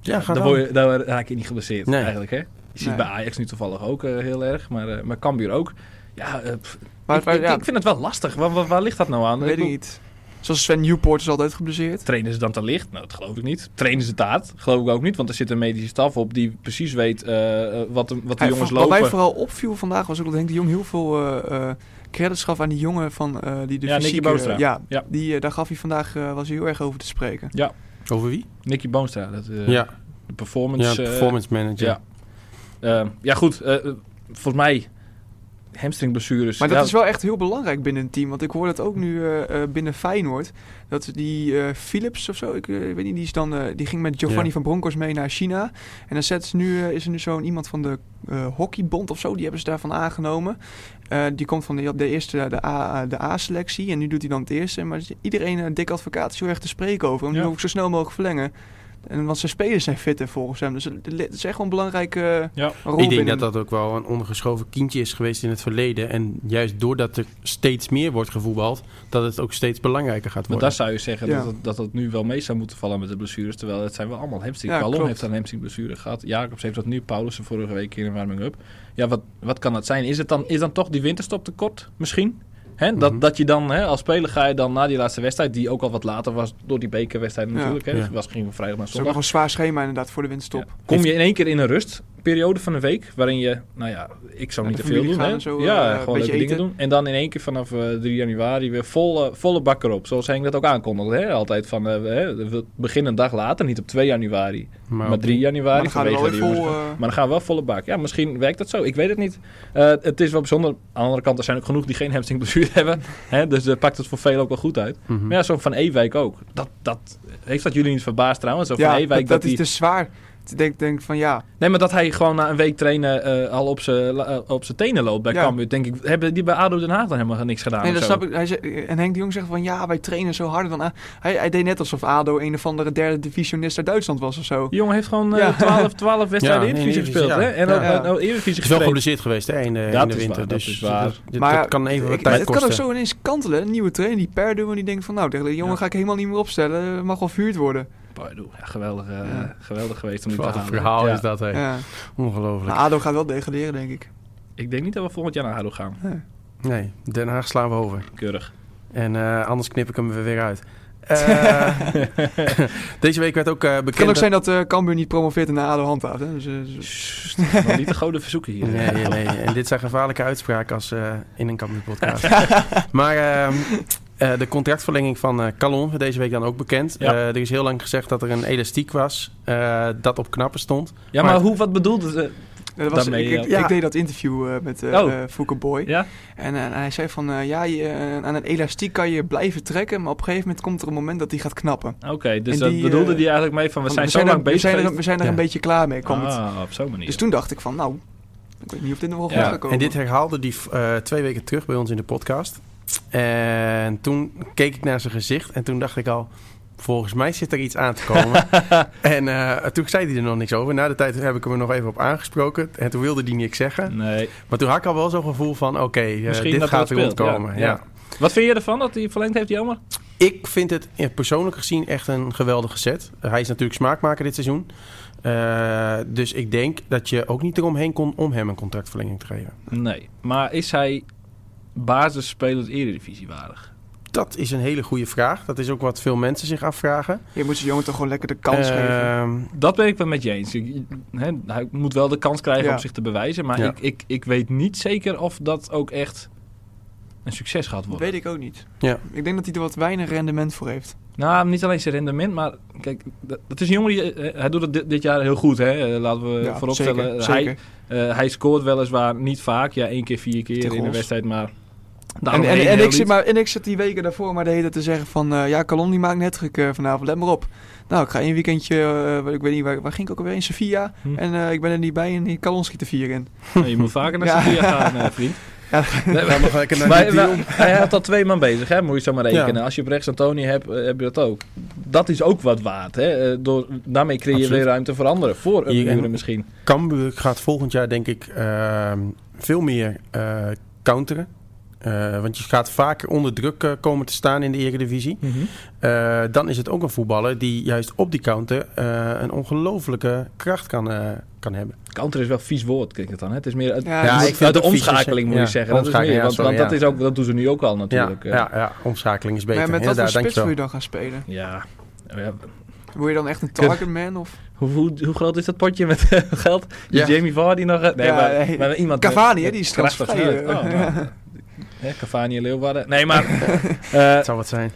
Ja, gaat daar, aan. word je, daar raak je niet geblesseerd Nee. eigenlijk. Hè? Je ziet Nee. bij Ajax nu toevallig ook eh, heel erg, maar, eh maar Cambuur ook. Ja, eh, pff, Maar ik, waar- ik, ja, ik vind het wel lastig. Waar, waar, waar ligt dat nou aan? weet ik bedoel, niet. Zoals Sven Newport is altijd geblesseerd. Trainen ze dan te licht? Nou, dat geloof ik niet. Trainen ze het hard? Geloof ik ook niet, want er zit een medische staf op die precies weet eh, eh, wat, de- wat de Hij- jongens wat lopen. mij vooral opviel vandaag was ook dat Henk de Jong heel veel eh eh credits gaf aan die jongen van eh, die de Ja, Nicky fysieke... Boustra. ja, Ja. Die, eh, daar gaf hij vandaag eh, was hij heel erg over te spreken. Over wie? Nicky Boonstra, dat, eh, ja, de ja, performance. eh, performance manager. ja. eh, ja, goed. eh, eh, volgens mij hamstringblessures. Maar dat ja, is wel echt heel belangrijk binnen een team. Want ik hoor dat ook nu eh, eh, binnen Feyenoord. Dat die eh, Philips of zo, ik eh, weet niet, die, is dan, eh, die ging met Giovanni Ja. van Bronckhorst mee naar China. En dan zet ze nu, eh, is er nu zo'n iemand van de eh, hockeybond of zo, die hebben ze daarvan aangenomen. Eh, die komt van de, de eerste, de, A, de A-selectie. En nu doet hij dan het eerste. Maar iedereen, eh, dik advocaat, is heel erg te spreken over. Om Ja. nu ook zo snel mogelijk verlengen. En, want zijn spelers zijn fitter volgens hem. Dus het het is echt wel een belangrijke eh, Ja. rol Ik denk binnen dat dat ook wel een ondergeschoven kindje is geweest in het verleden. En juist doordat er steeds meer wordt gevoetbald, dat het ook steeds belangrijker gaat Maar worden. daar zou je zeggen Ja. dat, het, dat het nu wel mee zou moeten vallen met de blessures. Terwijl het zijn wel allemaal hamstring. Ja, Ballon klopt. heeft een hamstringblessure gehad. Jacobs heeft dat nu. Paulussen vorige week in een warming-up. Ja, wat, wat kan dat zijn? Is het dan, is dan toch die winterstop te kort misschien? Hè? Dat, Mhm. dat je dan hè, als speler ga je dan na die laatste wedstrijd, die ook al wat later was door die bekerwedstrijd Ja. natuurlijk. Hè? Ja. Het was misschien van vrijdag naar Het is ook nog zondag. een zwaar schema inderdaad voor de winststop. Ja. Kom je in één keer in een rustperiode van een week, waarin je, nou ja, ik zou Naar niet te de veel familie doen. gaan Hè? en zo, eh, ja, een gewoon beetje leuke dingen eten. doen. En dan in één keer vanaf eh, 3 januari weer volle, volle bak erop. Zoals Henk dat ook aankondigde. Hè? Altijd van, eh, we- hè, we beginnen een dag later, niet op 2 januari, maar, op- 3 januari. Maar dan gaan we wel vanwege weer de jongens- vol... eh, maar dan gaan we wel volle bak. Ja, misschien werkt dat zo. Ik weet het niet. Eh, het is wel bijzonder. Aan de andere kant, er zijn ook genoeg die geen hamstringblessure hebben. Hè? Dus eh, pakt het voor velen ook wel goed uit. Mhm. Maar ja, zo van Ewijk ook. Dat, dat, heeft dat jullie niet verbaasd trouwens? Zo van ja, Ewijk dat, dat die- is te zwaar. Dus Ik denk, denk van ja, Nee, maar dat hij gewoon na een week trainen eh, al op zijn la- eh, op zijn tenen loopt bij Ja. Cambuur. Denk ik, hebben die bij ADO Den Haag dan helemaal niks gedaan nee, of dat Nou, zo? snap ik. Hij zei, en Henk de Jong zegt van ja, wij trainen zo harder dan A- hij, hij deed net alsof ADO een of andere derde divisionist uit Duitsland was of zo. Die jongen heeft gewoon eh, Ja. 12, 12 wedstrijden Ja, in Eredivisie in Eredivisie, gespeeld. ja. Hè? En Ja. ook Ja. nou nou Eredivisie Het is wel gespeeld. geblesseerd geweest hè, in de, Dat in de is winter. waar, dat dus is waar. dat- dat- Maar dat kan even wat Ik- tijd het kan ook kosten. zo ineens kantelen. Een nieuwe trainer, die Perdu, die denkt van nou, tegen die jongen Ja. ga ik helemaal niet meer opstellen. eh, Mag wel vuurd worden. Pardoe, ja, geweldig, eh, Ja. geweldig geweest om die te Wat een halen. verhaal Ja. is dat, hè. Ja. Maar Ongelooflijk. ADO gaat wel degraderen, denk ik. Ik denk niet dat we volgend jaar naar ADO gaan. Nou. Nee, Den Haag slaan we over. Keurig. En eh, anders knip ik hem er weer uit. Eh, deze week werd ook eh, bekend... Het kan ook dat- zijn dat eh Cambuur niet promoveert en naar ADO handhaaft. Hè? Dus, eh, dus- Sst, maar niet de goden verzoeken hier. eh. Nee, nee, nee. En dit zijn gevaarlijke uitspraken als eh, in een Cambuur-podcast. maar ehm, eh, de contractverlenging van eh Calon, werd deze week dan ook bekend. Ja. Eh, er is heel lang gezegd dat er een elastiek was eh, dat op knappen stond. Ja, maar Maar- hoe, wat bedoelde ze? Ja, dat was, Daarmee, ik, ik, ja. ik deed dat interview eh, met eh Oh. eh, Fouke Boy. Ja? En, eh, hij zei van, eh, ja, je, eh, aan een elastiek kan je blijven trekken, maar op een gegeven moment komt er een moment dat die gaat knappen. Oké, dus En dat die, bedoelde eh, die eigenlijk mee van we Want zijn zo er- lang we bezig zijn er, geweest. we zijn er Ja. een beetje klaar mee, kwam het. Ah, op zo'n manier. Dus toen dacht ik van, nou, ik weet niet of dit nog wel goed Ja, gaat komen. En dit herhaalde die eh, twee weken terug bij ons in de podcast. En toen keek ik naar zijn gezicht en toen dacht ik al... Volgens mij zit er iets aan te komen. en eh, toen zei hij er nog niks over. Na de tijd heb ik hem er nog even op aangesproken. En toen wilde hij niks zeggen. Nee. Maar toen had ik al wel zo'n gevoel van... Oké, eh, Misschien dit dat gaat dat weer speelt, ontkomen. ja, ja. ja. Wat vind je ervan dat hij verlengd heeft, Jelmer? Ik vind het eh, persoonlijk gezien echt een geweldige set. Hij is natuurlijk smaakmaker dit seizoen. Eh, dus ik denk dat je ook niet eromheen kon om hem een contractverlenging te geven. Nee, maar is hij basisspeler Eredivisie waardig? Dat is een hele goede vraag. Dat is ook wat veel mensen zich afvragen. Je moet die jongen toch gewoon lekker de kans Eh, geven. Ehm, Dat ben ik wel met je eens. Ik- hè, hij moet wel de kans krijgen Ja. om zich te bewijzen, maar Ja. ik, ik, ik weet niet zeker of dat ook echt een succes gaat Dat worden. weet ik ook niet. Ja. Ik denk dat hij er wat weinig rendement voor heeft. Nou, niet alleen zijn rendement, maar kijk, dat, dat is een jongen die eh, hij doet het dit, dit jaar heel goed, hè? Eh, Laten we Ja, vooropstellen. zeker, hij, zeker. eh, hij scoort weliswaar niet vaak, ja, één keer, vier keer Tegen in de ons. wedstrijd, maar En, daaromheen en, en, heel ik zit iets. maar, en ik zit die weken daarvoor maar de hele tijd te zeggen van... eh, ja, Calon die maakt net gek vanavond, let maar op. Nou, ik ga één weekendje, eh, waar- ik weet niet, waar, waar ging ik ook alweer in? Sofia. Hm. En eh, ik ben er niet bij en die Calon schiet er vier in. Nou, je moet vaker naar Ja. Sevilla gaan, eh, vriend. Ja. Nee, ga nog lekker naar Maar, die maar deal. hij had al twee man bezig, hè? moet je zo maar rekenen. Ja. Als je op rechts Antonie hebt, eh, heb je dat ook. dat is ook wat waard. Hè? Eh, door, daarmee creëer je Absoluut. weer ruimte voor anderen. Voor Hier- een misschien. Cambuur gaat volgend jaar denk ik ehm, veel meer eh, counteren. Eh, want je gaat vaker onder druk eh, komen te staan in de Eredivisie. Eh, dan is het ook een voetballer die juist op die counter eh, een ongelofelijke kracht kan, eh, kan hebben. Counter is wel een vies woord, klinkt het dan. Hè? Het is meer uit, Ja, Ja, ik- dus- uit vind het de ook vies, omschakeling, moet ja. ik zeggen. Dat is meer, Omschakeling, ja, want sorry, want dat, ja. is ook, dat doen ze nu ook al Ja, natuurlijk. eh. ja, ja, omschakeling is beter. maar met wat voor Inderdaad, spits wil je dankjewel. dan gaan spelen? Ja. Oh ja. Wil je dan echt een targetman of Hoe, hoe, hoe groot is dat potje met eh, geld? Is Ja. Jamie Vardy nog... eh, Nee, Ja, maar, nee. maar iemand... Cavani, hè, die is Krachtig transvrij, snuit. eh. Oh, nou. Hè, Cavani en Leeuwarden. Nee, maar... eh, Het zou wat zijn.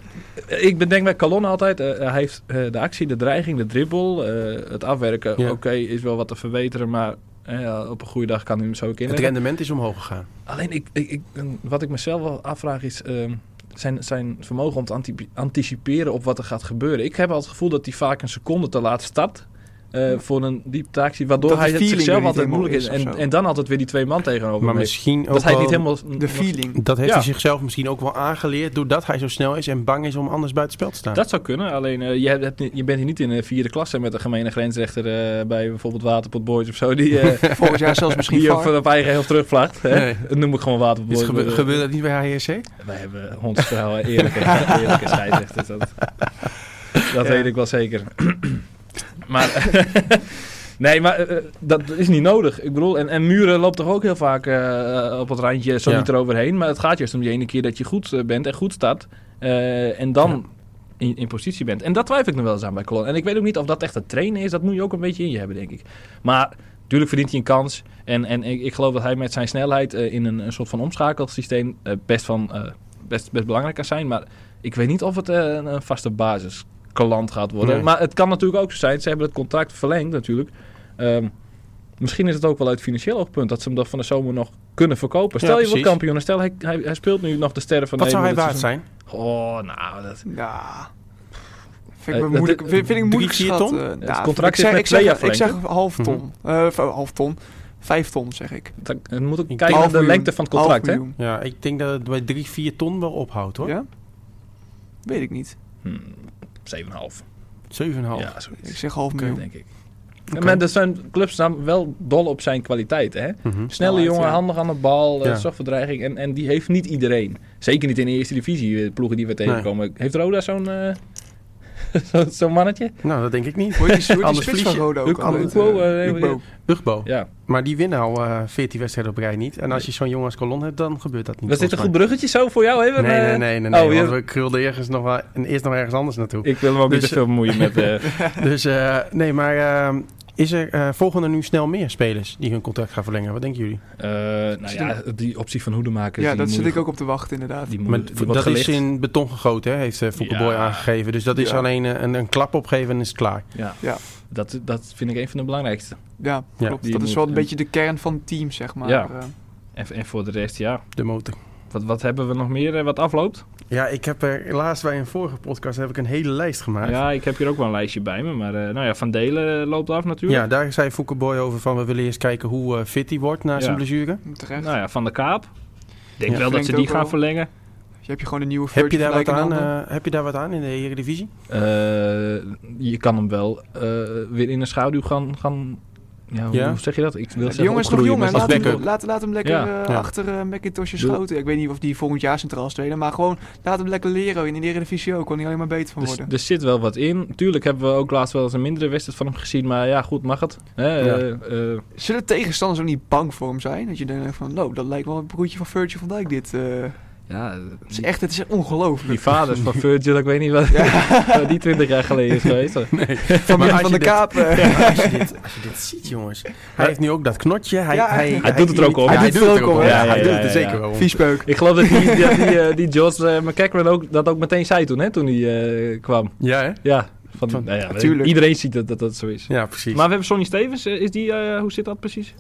Ik bedenk bij Calon altijd, eh, hij heeft eh, de actie, de dreiging, de dribbel, eh, het afwerken. Ja. Oké, is wel wat te verbeteren, maar eh, op een goede dag kan hij hem zo ook Het inleggen. rendement is omhoog gegaan. Alleen, ik, ik, ik- wat ik mezelf wel afvraag is ehm, zijn, zijn vermogen om te anti- anticiperen op wat er gaat gebeuren. Ik heb al het gevoel dat hij vaak een seconde te laat start eh, voor een diepte actie, waardoor Dat de hij het feeling er zichzelf niet altijd helemaal moeilijk is. is of en, zo. en dan altijd weer die twee man tegenover Maar hem heeft. misschien ook Dat hij het wel- niet helemaal... de feeling? Dat heeft Ja. hij zichzelf misschien ook wel aangeleerd doordat hij zo snel is en bang is om anders buitenspel te staan. Dat zou kunnen, alleen eh, je, hebt, niet- je bent hier niet in de vierde klasse met een gemene grensrechter eh, bij bijvoorbeeld Waterpot Boys of zo, die, eh, Volgend jaar zelfs misschien die op, VAR? op eigen heel terugvlacht. Hè? Nee. Dat noem ik gewoon Waterpot Dit Boys. gebe- Eh, gebeurt dat niet bij E HRC? Wij hebben hondsverhaal eerlijke, eerlijke scheidsrechters. Dat, dat Ja. weet ik wel zeker. maar nee, maar eh, eh, dat is niet nodig. Ik bedoel, en, en muren loopt toch ook heel vaak eh, op het randje, zo Ja. niet eroverheen. Maar het gaat juist om die ene keer dat je goed eh, bent en goed staat. eh, en dan in, in positie bent. En dat twijfel ik nog wel eens aan bij Colon. En ik weet ook niet of dat echt het trainen is. Dat moet je ook een beetje in je hebben, denk ik. Maar natuurlijk verdient hij een kans. En, en ik, ik geloof dat hij met zijn snelheid eh, in een, een soort van omschakelsysteem eh, best, van, eh, best, best belangrijk kan zijn. Maar ik weet niet of het eh, een, een vaste basis Colant gaat worden. Nee. Maar het kan natuurlijk ook zo zijn. Ze hebben het contract verlengd natuurlijk. Ehm, misschien is het ook wel uit financieel oogpunt dat ze hem dat van de zomer nog kunnen verkopen. Ja, Stel je wordt precies. kampioen en stel hij, hij, hij speelt nu nog de sterren van Wat zou hij Nederland waard zijn? dit seizoen. Oh, nou, dat, Ja. Vind Eh, ik, dat- me moeilijk, vind, vind ik moeilijk drie, vier schat. ton? eh, Het nou, contract ik zeg, is met ik zeg, twee jaar ik zeg verlengd, half ton. Mhm. Eh, v- half ton. Vijf ton, zeg ik. Dat, dan moet ik denk kijken naar half de miljoen. lengte van het contract, Half hè? miljoen. Ja, ik denk dat het bij 3, 4 ton wel ophoudt hoor. Ja? Weet ik niet. Hmm, 7,5. 7,5. Ja, Ik zoiets. zeg half Oké, miljoen. denk ik. Maar er zijn clubs dan wel dol op zijn kwaliteit, hè? Mhm. Snelle Snelheid, jongen, ja. handig aan de bal, eh, Ja. zorgverdreiging. En, en die heeft niet iedereen. Zeker niet in de eerste divisie, eh, de ploegen die we tegenkomen. Heeft Roda zo'n eh, zo- zo'n mannetje? Nou, dat denk ik niet. Hoe heet die, hoe heet die Anders spits verlies van je. Roda ook Ook alweer? Ukwo, eh, Eh, Ukwo. Ugbo. Ja. Maar die winnen al eh 14 wedstrijden op rij niet. En als je zo'n jongen als kolon hebt, dan gebeurt dat niet. Was dit een goed volgens bruggetje zo voor jou? Even, mij. Nee, nee, nee. nee, nee oh, je- want we krulden ergens nog wel, en eerst nog ergens anders naartoe. Ik wil hem ook niet Dus- te veel bemoeien met... eh, Dus eh, nee, maar eh, is er, eh, volgen er nu snel meer spelers die hun contract gaan verlengen? Wat denken jullie? eh, nou ja, die optie van hoedemakers. Ja, die dat moet zit je- ik ook op te wachten, inderdaad. Die moet, Maar die wordt dat gelicht. is in beton gegoten, hè, heeft uh, Boy Ja. aangegeven. Dus dat is Ja. alleen eh, een, een klap opgeven en is het klaar. Ja. Ja. Dat, dat vind ik een van de belangrijkste. Ja, Ja, klopt. die Dat is moet- wel een beetje de kern van het team, zeg maar. Ja. Eh, En, en voor de rest, ja. De motor. Wat, wat hebben we nog meer eh, wat afloopt? Ja, ik heb er laatst bij een vorige podcast heb ik een hele lijst gemaakt. Ja, ik heb hier ook wel een lijstje bij me. Maar eh, nou ja, Van Delen eh, loopt af natuurlijk. Ja, daar zei Boy over van we willen eerst kijken hoe eh, fit hij wordt na Ja. zijn blessure. Terecht. Nou ja, Van de Kaap. Ik denk Ja. wel dat Denkt ze die ook gaan wel. verlengen. Dus Je hebt je gewoon een nieuwe Heb je, Virgil daar gelijk wat in aan, handen. eh, heb je daar wat aan in de Eredivisie? Eh, je kan hem wel eh, weer in een schaduw gaan... gaan ja, hoe Ja. hoe zeg je dat? Ik wil De zeggen jongen is nog opgroeien, jong, hè? maar als Laat, hem- backup. laat, laat hem lekker Ja. eh, Ja. achter eh McIntosh's Doe- schoten. Ik weet niet of die volgend jaar centraal spelen, maar gewoon laat hem lekker leren. In de Eredivisie ook, kan hij alleen maar beter Dus van er, worden. Dus er zit wel wat in. Tuurlijk hebben we ook laatst wel eens een mindere wedstrijd van hem gezien. Maar ja, goed, mag het. Hè, Ja. eh, eh, Zullen tegenstanders ook niet bang voor hem zijn? Dat je denkt van, nou, dat lijkt wel een broertje van Virgil van Dijk dit. eh. ja, het is echt, het is ongelooflijk. die vaders van Virgil, ik weet niet wat, wat die 20 jaar geleden is geweest. Van, Maar als van je de dit- Kaap. eh. Ja, als, je dit, als je dit ziet, jongens. Hij heeft nu ook dat knotje. Hij, Ja, hij, hij doet het er ook om. Hij, Hij doet het er ook om. hè? Ja, Ja, hij ja, doet ja, het er ja. zeker wel om. Viespeuk. Ik geloof dat die, dat die, eh, die George eh, McCracken ook, dat ook meteen zei toen, hè, toen hij eh, kwam. Ja, hè? Ja, van, Van- nou ja, tuurlijk. iedereen ziet dat, dat dat zo is. Ja, precies. Maar we hebben Sonny Stevens, eh, is die, eh, hoe zit dat precies?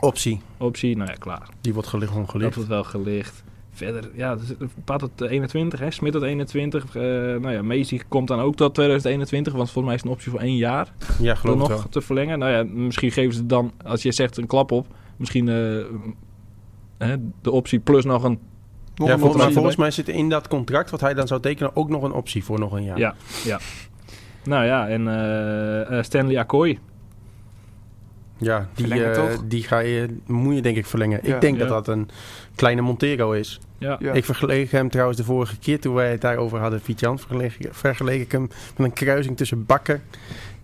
Optie. Optie, nou ja, klaar. Die wordt gelicht Dat ongelicht. wordt wel gelicht. Verder, ja, er zit een paar tot eh, 21, hè, Smit tot 21. eh, nou ja, Macy komt dan ook tot 2021, want volgens mij is het een optie voor één jaar Ja, om geloof ik wel. nog te verlengen. Nou ja, misschien geven ze dan, als je zegt, een klap op. Misschien eh, hè, de optie plus nog een Nog Ja, een volgens, optie maar volgens erbij. mij zit in dat contract wat hij dan zou tekenen ook nog een optie voor nog een jaar. Ja, ja. Nou ja, en eh, eh, Stanley Akkoy. Ja, die, Verlengen eh, toch? die ga je, moet je denk ik verlengen. Ja. ik denk Ja. dat dat een kleine Montero is. Ja. Ja. Ik vergeleek hem trouwens de vorige keer toen wij het daarover hadden, Vietjan, vergeleek, vergeleek ik hem met een kruising tussen Bakker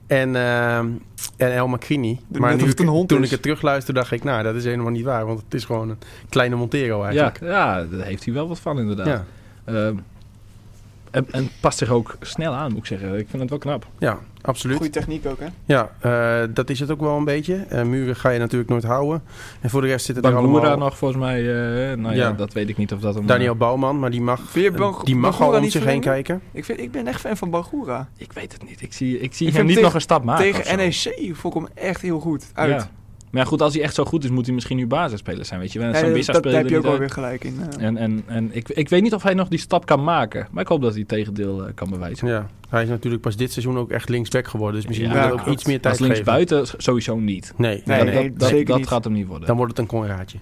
en, ehm en El Macrini. Net of het ik- een hond toen is. ik het terugluisterde, dacht ik, nou, dat is helemaal niet waar, want het is gewoon een kleine Montero Ja, eigenlijk. ja, daar heeft hij wel wat van inderdaad. ja. Ehm, en, en past zich ook snel aan, moet ik zeggen. Ik vind het wel knap. ja absoluut. Goede techniek ook, hè? Ja, eh, dat is het ook wel een beetje. Eh, muren ga je natuurlijk nooit houden. En voor de rest zit het er Bangura allemaal... nog volgens mij. eh, nou ja, Ja. dat weet ik niet of dat hem... Daniel Bouwman, maar die mag, Vind je Bang- Eh, die mag al Bangura om niet zich heen verlengen? kijken. Ik, vind, ik ben echt fan van Bagura. eh, ik weet het niet. Ik zie, ik zie Ik hem vind niet tegen- nog een stap maken. of zo. Tegen NEC vond ik hem echt heel goed uit. Ja. Maar ja, goed, als hij echt zo goed is, moet hij misschien nu basisspeler zijn, weet je wel. En Ja, Sambisa dat- dat- speelde daar heb je er ook wel niet weer gelijk in. eh. uit. En, en, en ik, ik weet niet of hij nog die stap kan maken. Maar ik hoop dat hij het tegendeel eh, kan bewijzen. Ja, hij is natuurlijk pas dit seizoen ook echt linksback geworden. Dus misschien Ja, moet hij ook klopt. iets meer tijd Als links geven. buiten sowieso niet. Nee, Nee, nee, dat, nee. dat, dat, zeker dat niet. gaat hem niet worden. Dan wordt het een Conraadje.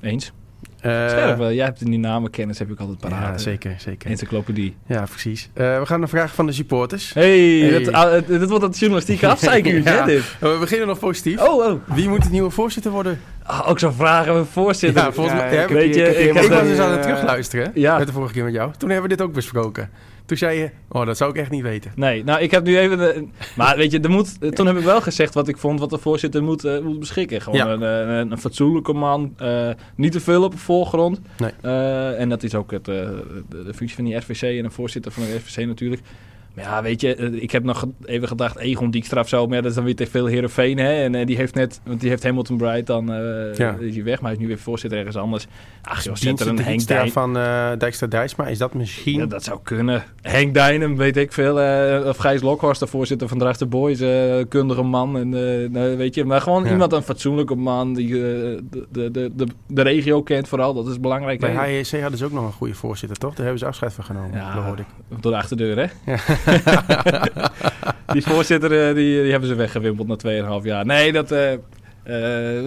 Eens. Eh, Scherp, eh, jij hebt die namenkennis, heb ik altijd paraat. ja, hè? zeker, zeker. Encyclopedie. Ja, precies. Eh, we gaan naar vragen van de supporters. Hey, Hey. Dat, ah, eh, dat wordt dat journalistieke afzeikuurtje, Ja. hè, dit? Eh, we beginnen nog positief. Oh, oh. Wie moet de nieuwe voorzitter worden? Ah, ook zo'n vragen we voorzitter. Ja, volgens mij- ik heb Weet hier- je, heb hier ik Ik, helemaal heb was dat- dus geen, aan het eh, terugluisteren. hè? ja. Met de vorige keer met jou. Toen hebben we dit ook besproken. Toen zei je, oh, dat zou ik echt niet weten. Nee, nou, ik heb nu even... de- maar weet je, er moet, eh, toen heb ik wel gezegd wat ik vond... wat de voorzitter moet, eh, moet beschikken. Gewoon Ja. een, eh, een, een fatsoenlijke man. eh, niet te veel op de voorgrond. Nee. Eh, en dat is ook het, eh, de, de functie van die RVC... en een voorzitter van de RVC natuurlijk. Maar ja, weet je, eh, ik heb nog ge- even gedacht... Egon Dijkstra of zo, maar ja, dat is dan weer te veel Heerenveen, hè. En eh, die heeft net... want die heeft Hamilton Bright dan... eh, Ja. is hij weg, maar hij is nu weer voorzitter ergens anders. Ach joh, zet Dienst- er een de Henk dienstjaar Dijn... van eh Dijkstra Dijsma. Is dat misschien... Ja, dat zou kunnen. Henk Dijnen, weet ik veel. eh, of Gijs Lokhorst, de voorzitter van Draagster Boys. eh, kundige man. En, eh, nou, weet je, maar gewoon Ja. iemand, een fatsoenlijke man. Die eh, de, de, de, de, de regio kent vooral. Dat is belangrijk. Bij hè? HEC hadden ze ook nog een goede voorzitter, toch? Daar hebben ze afscheid van genomen, Ja. dat hoorde ik. Door de achterdeur, hè? die voorzitter, eh, die, die hebben ze weggewimpeld na 2,5 jaar. Nee, dat... eh, eh,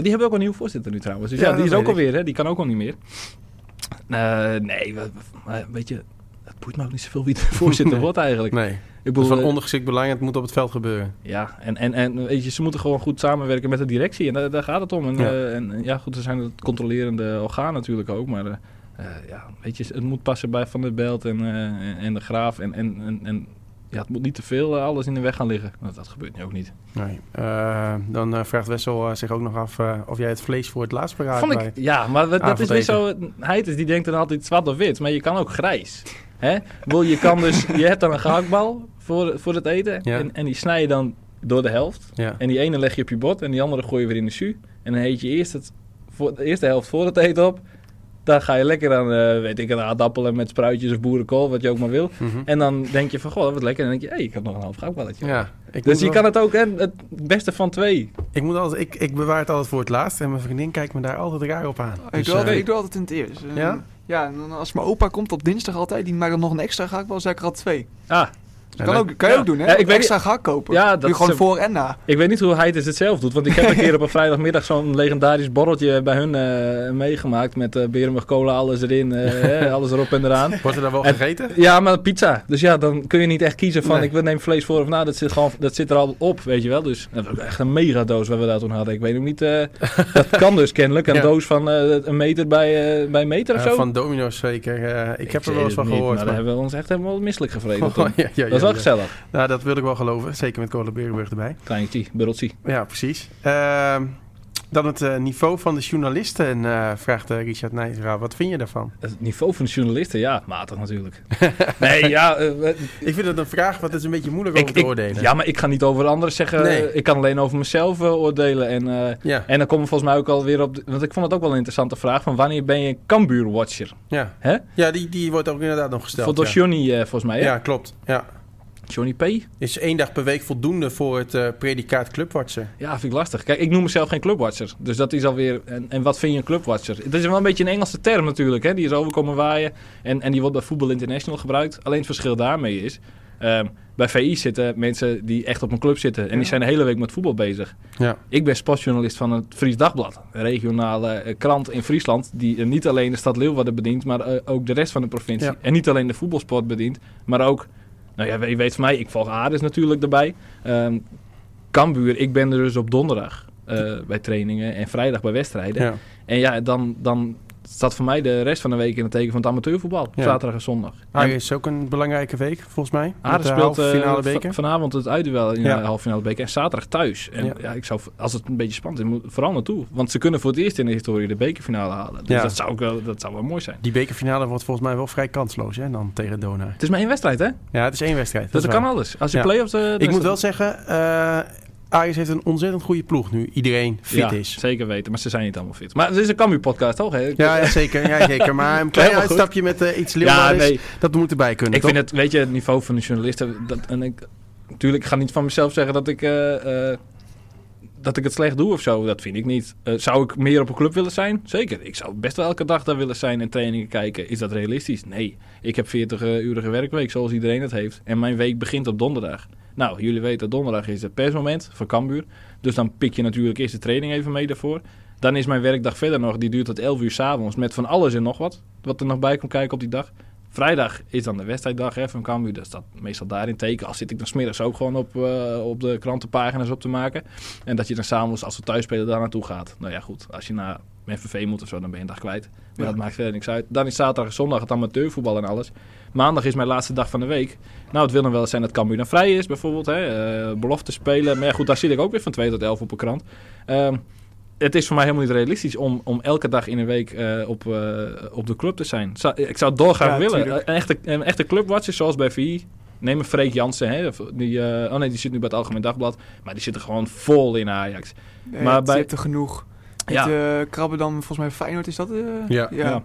die hebben ook een nieuwe voorzitter nu trouwens. Dus Ja, ja, die dat is ook weet ik. alweer, hè? Die kan ook al niet meer. Eh, nee, we- we- eh, weet je... Het boeit me ook niet zoveel wie de voorzitter Nee. wordt eigenlijk. Nee, Ik dat is van eh, ondergeschikt belang. Het moet op het veld gebeuren. Ja, en, en, en weet je, ze moeten gewoon goed samenwerken met de directie. En daar, daar gaat het om. En, Ja. eh, en en ja, goed, er zijn het controlerende orgaan natuurlijk ook. Maar eh, eh, ja, weet je, het moet passen bij Van der Belt en, eh, en- en de Graaf. En, en, en, en ja, het moet niet te veel eh, alles in de weg gaan liggen. Nou, dat gebeurt nu ook niet. Nee. Eh, dan eh, vraagt Wessel eh, zich ook nog af eh, of jij het vlees voor het laatst beraadt. Vond ik, bij- ja, maar dat- dat is weer zo. avondeten. Heidens die denkt dan altijd zwart of wit, maar je kan ook grijs. Hè? Wil, je, kan dus, je hebt dan een gehaktbal voor, voor het eten. Ja. En, en die snij je dan door de helft. Ja. En die ene leg je op je bord en die andere gooi je weer in de su. En dan heet je eerst het, voor, de eerste helft voor het eten op. Daar ga je lekker aan, eh, weet ik, aan aardappelen met spruitjes of boerenkool, wat je ook maar wil. Mhm. En dan denk je van, goh, wat lekker. En dan denk je, hé, ik heb nog een half goudballetje. Ja, ik, Dus moet je wel- kan het ook, en het beste van twee. ik, moet altijd, ik, ik bewaar het altijd voor het laatst en mijn vriendin kijkt me daar altijd raar op aan. Ik, Dus, doe altijd, eh, ik doe altijd in het eerst. Eh, Ja? Ja, en dan als mijn opa komt op dinsdag altijd, die maakt dan nog een extra gehakt, wel zeg ik er al twee. Dus Ah, Ja, kan, dan- ook, kan je ja. ook doen, hè? Ja, ik weet extra gehakt kopen. Ja, Ja, dat dat gewoon is- voor en na. ik weet niet hoe Heidens het zelf doet. Want ik heb een keer op een vrijdagmiddag zo'n legendarisch borreltje bij hun eh, meegemaakt. Met eh Berenburg cola, alles erin, eh, hè, alles erop en eraan. Wordt er dan wel En- gegeten? Ja, maar pizza. Dus ja, dan kun je niet echt kiezen van Nee. ik wil neem vlees voor of na. Dat zit, gewoon, dat zit er al op, weet je wel. Dus dat was ook echt een megadoos wat we daar toen hadden. Ik weet ook niet. eh, dat kan dus kennelijk. Een Ja. doos van eh, een meter bij, eh, bij een meter of Eh, zo. van Domino's zeker. eh, ik, heb er wel weet eens het van niet, gehoord. Maar daar maar- hebben we ons echt helemaal misselijk gevreden. Oh, toen. ja, ja, dat is ja, wel ja. gezellig. Nou, dat wil ik wel geloven. Zeker met Cola Berenburg erbij. Kleintje, burreltje. Ja, precies. Ehm, dan het eh, niveau van de journalisten, eh, vraagt eh, Richard Nijsra. Wat vind je daarvan? Het niveau van de journalisten, ja, matig natuurlijk. nee, ja, eh, we- Ik vind het een vraag, want het is een beetje moeilijk om ik, te ik- oordelen. ja, maar ik ga niet over anderen zeggen. Nee. Ik kan alleen over mezelf eh, oordelen. En eh, ja. En dan komen we volgens mij ook alweer op... de- want ik vond het ook wel een interessante vraag... van wanneer ben je een Cambuur-watcher? ja. Hè? Ja, die, die wordt ook inderdaad nog gesteld. Voor door ja. Johnny, eh, volgens mij. hè? Ja, klopt. Ja. Johnny P. Is één dag per week voldoende voor het eh, predicaat clubwatcher? Ja, vind ik lastig. Kijk, ik noem mezelf geen clubwatcher. Dus dat is alweer... En, en wat vind je een clubwatcher? Het is wel een beetje een Engelse term natuurlijk. Hè? Die is overkomen waaien. En, en die wordt bij Voetbal International gebruikt. Alleen het verschil daarmee is... ehm, bij VI zitten mensen die echt op een club zitten. En die Ja. zijn de hele week met voetbal bezig. Ja. Ik ben sportjournalist van het Fries Dagblad. Een regionale eh, krant in Friesland. Die eh, niet alleen de stad Leeuwarden bedient. Maar eh, ook de rest van de provincie. Ja. En niet alleen de voetbalsport bedient. Maar ook... nou Nou ja, je weet van mij, ik volg Aris natuurlijk erbij. Ehm Kambuur, ik ben er dus op donderdag eh, bij trainingen en vrijdag bij wedstrijden. Ja. En ja, dan, dan staat voor mij de rest van de week in het teken van het amateurvoetbal. op Ja. Ah, Zaterdag en zondag. Ajax En is ook een belangrijke week, volgens mij. Met Ajax de speelt halve eh, finale va- beker. vanavond het uitduel in Ja. de halve finale beker. En zaterdag thuis. En Ja. ja. ik zou, als het een beetje spannend is, moet vooral naartoe. Want ze kunnen voor het eerst in de historie de bekerfinale halen. Dus Ja. dat, zou ook wel, dat zou wel mooi zijn. Die bekerfinale wordt volgens mij wel vrij kansloos, hè, dan tegen Donar. Het is maar één wedstrijd, hè? Ja, het is één wedstrijd. Dat, is kan waar. alles. Als je Ja. play-offs... eh, Ik moet wedstrijd- wel zeggen, eh Ajax heeft een ontzettend goede ploeg nu. Iedereen fit Ja, is. zeker weten. Maar ze zijn niet allemaal fit. Maar het is een Cambuur-podcast, toch? hè? Ja, ja, zeker, ja, zeker. Maar een klein Helemaal goed. uitstapje met eh, iets ja Leeuwarden, nee. dat moet erbij kunnen, Ik toch? vind het, weet je, het niveau van de journalisten. Dat, en ik, natuurlijk, ik ga niet van mezelf zeggen dat ik, eh, eh, dat ik het slecht doe of zo. Dat vind ik niet. Eh, zou ik meer op een club willen zijn? Zeker. Ik zou best wel elke dag daar willen zijn en trainingen kijken. Is dat realistisch? Nee. Ik heb 40-urige werkweek, zoals iedereen dat heeft. En mijn week begint op donderdag. Nou, jullie weten, donderdag is het persmoment voor Cambuur. Dus dan pik je natuurlijk eerst de training even mee daarvoor. Dan is mijn werkdag verder nog. Die duurt tot 11 uur s'avonds met van alles en nog wat. Wat er nog bij komt kijken op die dag. Vrijdag is dan de wedstrijddag hè, van Cambuur. Dat staat meestal daarin teken. Als zit ik dan smiddags ook gewoon op, eh, op de krantenpagina's op te maken. En dat je dan s'avonds, als we thuis spelen, daar naartoe gaat. Nou ja, goed. Als je naar MVV moet of zo, dan ben je een dag kwijt. Maar dat maakt verder niks uit. Dan is zaterdag en zondag het amateurvoetbal en alles. Maandag is mijn laatste dag van de week. Nou, het wil dan wel eens zijn dat Cambuur dan vrij is, bijvoorbeeld. Hè. eh, belofte spelen. Maar ja, goed, daar zit ik ook weer van 2 tot 11 op een krant. Ehm, het is voor mij helemaal niet realistisch om, om elke dag in een week eh, op, eh, op de club te zijn. Zou- ik zou het dolgraag Ja, willen. Eh, tuurlijk. Een echte, een echte clubwatcher, zoals bij VI. Neem een Freek Jansen. Hè? Of Die, eh, oh nee, die zit nu bij het Algemeen Dagblad. Maar die zit er gewoon vol in Ajax. Nee, Maar het- bij- Je hebt er Eh, genoeg. Ja. Ja. Het krabben dan, volgens mij Feyenoord is dat? eh? Ja. Ja. ja.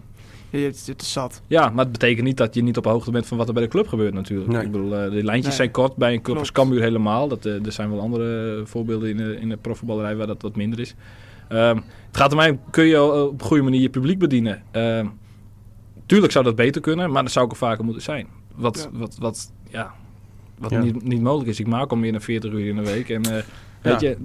Ja, het, het is zat. Ja, maar het betekent niet dat je niet op hoogte bent van wat er bij de club gebeurt natuurlijk. Nee. Ik bedoel, eh, de lijntjes Nee. zijn kort bij een club als Klopt. Cambuur helemaal. Dat, eh, er zijn wel andere eh, voorbeelden in de, in de profvoetballerij waar dat wat minder is. Ehm, het gaat om mij, kun je eh, op een goede manier je publiek bedienen? Ehm, tuurlijk zou dat beter kunnen, maar dat zou ik er vaker moeten zijn. Wat, Ja. Wat, wat, ja, wat Ja. Niet, niet mogelijk is. Ik maak al meer dan 40 uur in de week. En eh, Ja. weet je,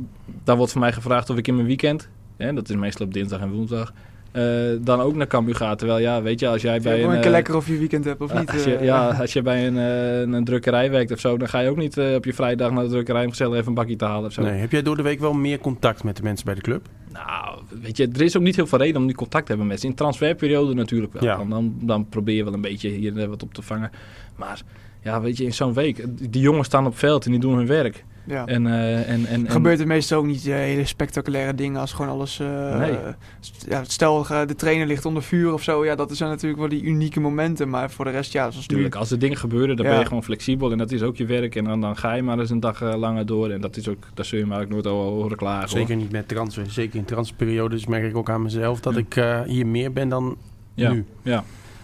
daar wordt van mij gevraagd of ik in mijn weekend, hè, dat is meestal op dinsdag en woensdag, eh, dan ook naar Cambuur ga. Terwijl ja, weet je, als jij bij Ja, een... een eh, keer lekker of je weekend hebt of ja, niet. als je, eh. ja, als je bij een, eh, een, een drukkerij werkt of zo, dan ga je ook niet eh, op je vrijdag naar de drukkerij om gezellig even een bakje te halen of zo. Nee, heb jij door de week wel meer contact met de mensen bij de club? Nou, weet je, er is ook niet heel veel reden om nu contact te hebben met ze. In transferperiode natuurlijk wel. Ja. Dan, dan, dan probeer je wel een beetje hier en daar wat op te vangen. Maar ja, weet je, in zo'n week, die jongens staan op veld en die doen hun werk. Ja. En, eh, en, en, en- Gebeurt er meestal ook niet eh, hele spectaculaire dingen als gewoon alles... eh, Nee. st- ja, stel, eh, de trainer ligt onder vuur of zo. Ja, dat zijn natuurlijk wel die unieke momenten. Maar voor de rest, ja, zoals nu. Tuurlijk, als er dingen gebeuren, dan Ja. ben je gewoon flexibel. En dat is ook je werk. En dan, dan ga je maar eens een dag eh, langer door. En dat is ook, daar zul je maar ook nooit over horen klagen. hoor. Zeker niet met transfer. Zeker in transferperiodes merk ik ook aan mezelf dat Ja. ik eh, hier meer ben dan Ja. nu.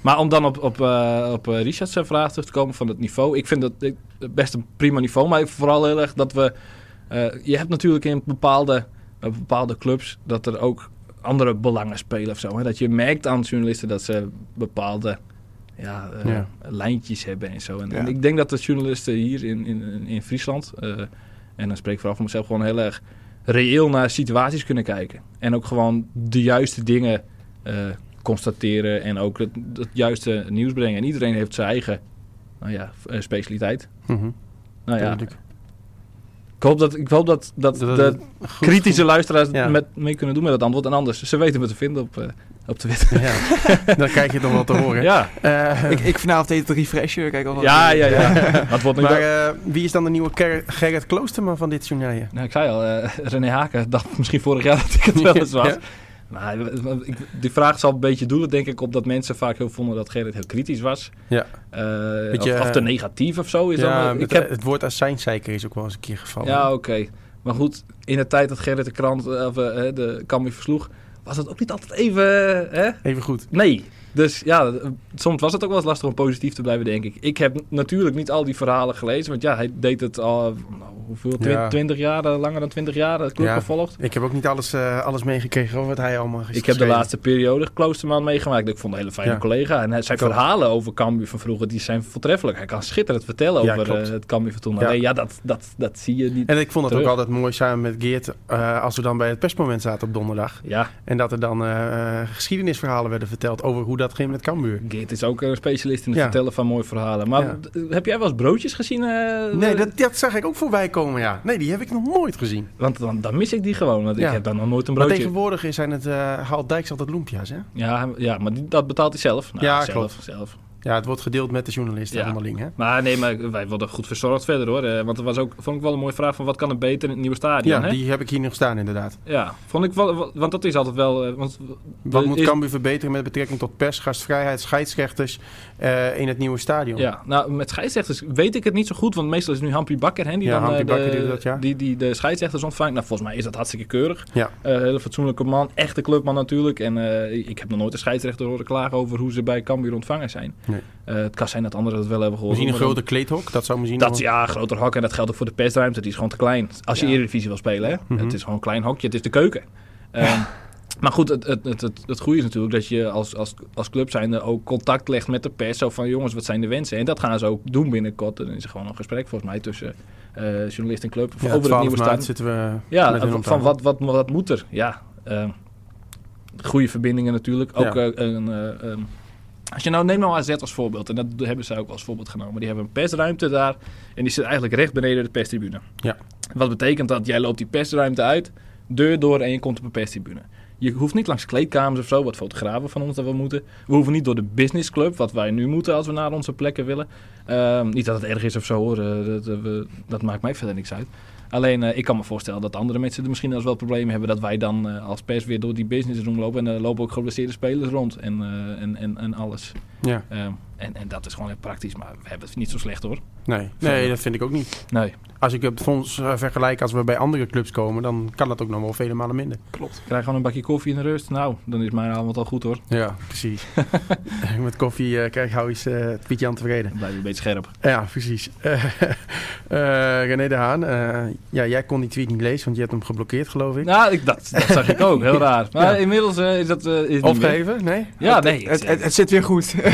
Maar om dan op, op, eh, op eh, Richard's eh, vraag terug te komen van het niveau. Ik vind dat eh, best een prima niveau. Maar vooral heel erg dat we... eh, je hebt natuurlijk in bepaalde, eh, bepaalde clubs dat er ook andere belangen spelen of zo. Hè? Dat je merkt aan journalisten dat ze bepaalde ja, eh, Ja. lijntjes hebben en zo. En, en Ja. ik denk dat de journalisten hier in, in, in- in Friesland... eh, en dan spreek ik vooral voor mezelf gewoon heel erg reëel naar situaties kunnen kijken. En ook gewoon de juiste dingen eh, constateren en ook het, het juiste nieuws brengen. En iedereen heeft zijn eigen nou ja, f- eh, specialiteit. Mhm, Nou ja, duidelijk. ik hoop dat, ik hoop dat, dat, Dat- de Goed. kritische luisteraars Ja. met, mee kunnen doen met het antwoord. En anders, ze weten me te vinden op, eh, op Twitter. Ja, dan krijg je toch wel te horen. Ja, Eh, Ik, ik vanavond heet het refresher. Kijk, al wat- ja, ja. ja. Dat wordt nu maar wel- eh, wie is dan de nieuwe Ger- Gerrit Kloosterman van dit journaal? Nou, ik zei al, eh, René Haken dacht misschien vorig jaar dat ik het wel eens was. Ja. Maar eh, ik, die vraag zal een beetje doelen, denk ik, op dat mensen vaak heel vonden dat Gerrit heel kritisch was. Ja. Eh, Beetje, of, of te eh, negatief of zo. Is Ja, dan, ik het, heb, het woord azijnzeiker is ook wel eens een keer gevallen. ja oké. Maar goed, in de tijd dat Gerrit de krant, eh, of eh, de Cambuur versloeg, was dat ook niet altijd even... eh, hè? Even goed. Nee. Dus ja, eh, soms was het ook wel eens lastig om positief te blijven, denk ik. Ik heb natuurlijk niet al die verhalen gelezen, want ja, hij deed het al, nou, hoeveel, Ja. 20 jaar, eh, langer dan 20 jaar, dat club Ja. gevolgd. Ik heb ook niet alles, eh, alles meegekregen over wat hij allemaal geschreven Ik heb de laatste periode Kloosterman meegemaakt. Ik vond een hele fijne Ja. collega. En hij- zijn Ik ook. verhalen over Cambuur van vroeger, die zijn voortreffelijk. Hij kan schitterend vertellen Ja, over klopt. eh, het Cambuur van toen. Ja. Ja, ja dat, dat, dat zie je niet. En ik vond het Terug. ook altijd mooi samen met Geert eh, als we dan bij het persmoment zaten op donderdag. Ja, En dat er dan eh, eh, geschiedenisverhalen werden verteld over hoe dat ging met Cambuur. Geert is ook een specialist in het Ja. vertellen van mooie verhalen. Maar Ja. d- heb jij wel eens broodjes gezien? eh, Nee, dat, dat zag ik ook voorbij komen, ja. Nee, die heb ik nog nooit gezien. Want dan, dan mis ik die gewoon. Want Ja. ik heb dan nog nooit een Maar broodje. tegenwoordig is- zijn het, eh haalt Dijks altijd lumpia's, hè? Ja, hij- ja, maar die- dat betaalt hij zelf. Nou, Ja, zelf, klopt. Zelf. Ja, het wordt gedeeld met de journalisten Ja. onderling, hè? Maar nee, maar wij worden goed verzorgd verder hoor. Eh, Want er was ook, vond ik wel een mooie vraag van wat kan er beter in het nieuwe stadion. Ja, hè? die heb ik hier nog staan, inderdaad. ja, vond ik wel, wel- want dat is altijd wel. eh, Want Wat Er moet is- Cambuur verbeteren met betrekking tot pers, gastvrijheid, scheidsrechters eh, in het nieuwe stadion? Ja, nou met scheidsrechters weet ik het niet zo goed, want meestal is het nu Hampie Bakker hè, die Ja, dan eh, Hampie de, Bakker doet dat, ja. die, die de scheidsrechters ontvangt. Nou, volgens mij is dat hartstikke keurig. Ja. Eh, hele fatsoenlijke man, echte clubman natuurlijk. En eh, ik heb nog nooit een scheidsrechter horen klagen over hoe ze bij Cambuur ontvangen zijn. Nee. Eh, het kan zijn dat anderen dat wel hebben gehoord. Misschien een maar dan- groter kleedhok, dat zou misschien Dat, nog- ja, een groter hok. En dat geldt ook voor de persruimte. Die is gewoon te klein. Als je Ja. Eredivisie wil spelen, hè. Mhm. Het is gewoon een klein hokje. Het is de keuken. Ehm, Maar goed, het, het, het, het, het goede is natuurlijk dat je als, als, als club zijnde ook contact legt met de pers. Zo van, jongens, wat zijn de wensen? En dat gaan ze ook doen binnenkort. Er is gewoon een gesprek, volgens mij, tussen eh, journalist en club. Ja, over het 12 nieuwe maart stadion. zitten we eh, met Ja, hun van, om tafel. wat, wat, wat moet er? Ja, ehm, goede verbindingen natuurlijk. Ook Ja. eh, een... eh, ehm, als je nou neemt nou AZ als voorbeeld, en dat hebben zij ook als voorbeeld genomen. Die hebben een persruimte daar en die zit eigenlijk recht beneden de perstribune. Ja. Wat betekent dat? Jij loopt die persruimte uit, deur door en je komt op een perstribune. Je hoeft niet langs kleedkamers of zo, wat fotografen van ons dat wel moeten. We hoeven niet door de businessclub, wat wij nu moeten als we naar onze plekken willen. Ehm, niet dat het erg is of zo hoor, eh, dat, eh, we- dat maakt mij verder niks uit. Alleen eh, ik kan me voorstellen dat andere mensen er misschien als wel problemen hebben dat wij dan eh, als pers weer door die businessroom lopen. En er lopen ook geblesseerde spelers rond en, eh, en, en, en alles. Ja, Ehm, en, en dat is gewoon heel praktisch, maar we hebben het niet zo slecht hoor. nee. nee, dat vind ik ook niet. Nee, Als ik het soms eh, vergelijk als we bij andere clubs komen, dan kan dat ook nog wel vele malen minder. Klopt. krijg gewoon een bakje koffie in de rust. Nou, dan is mijn avond al goed hoor. Ja, precies. Met koffie eh, krijg hou eens eh, het Pietje aan tevreden. Dan blijf je een beetje scherp. Ja, precies. Eh eh, René de Haan, eh, ja, jij kon die tweet niet lezen, want je hebt hem geblokkeerd, geloof ik. Nou, ik, dat, dat zag ik ook. Heel raar. Maar inmiddels eh, is dat... eh, is het niet meer. Opgeheven? Nee? Ja, nee. ik- Het, het, het zit weer goed.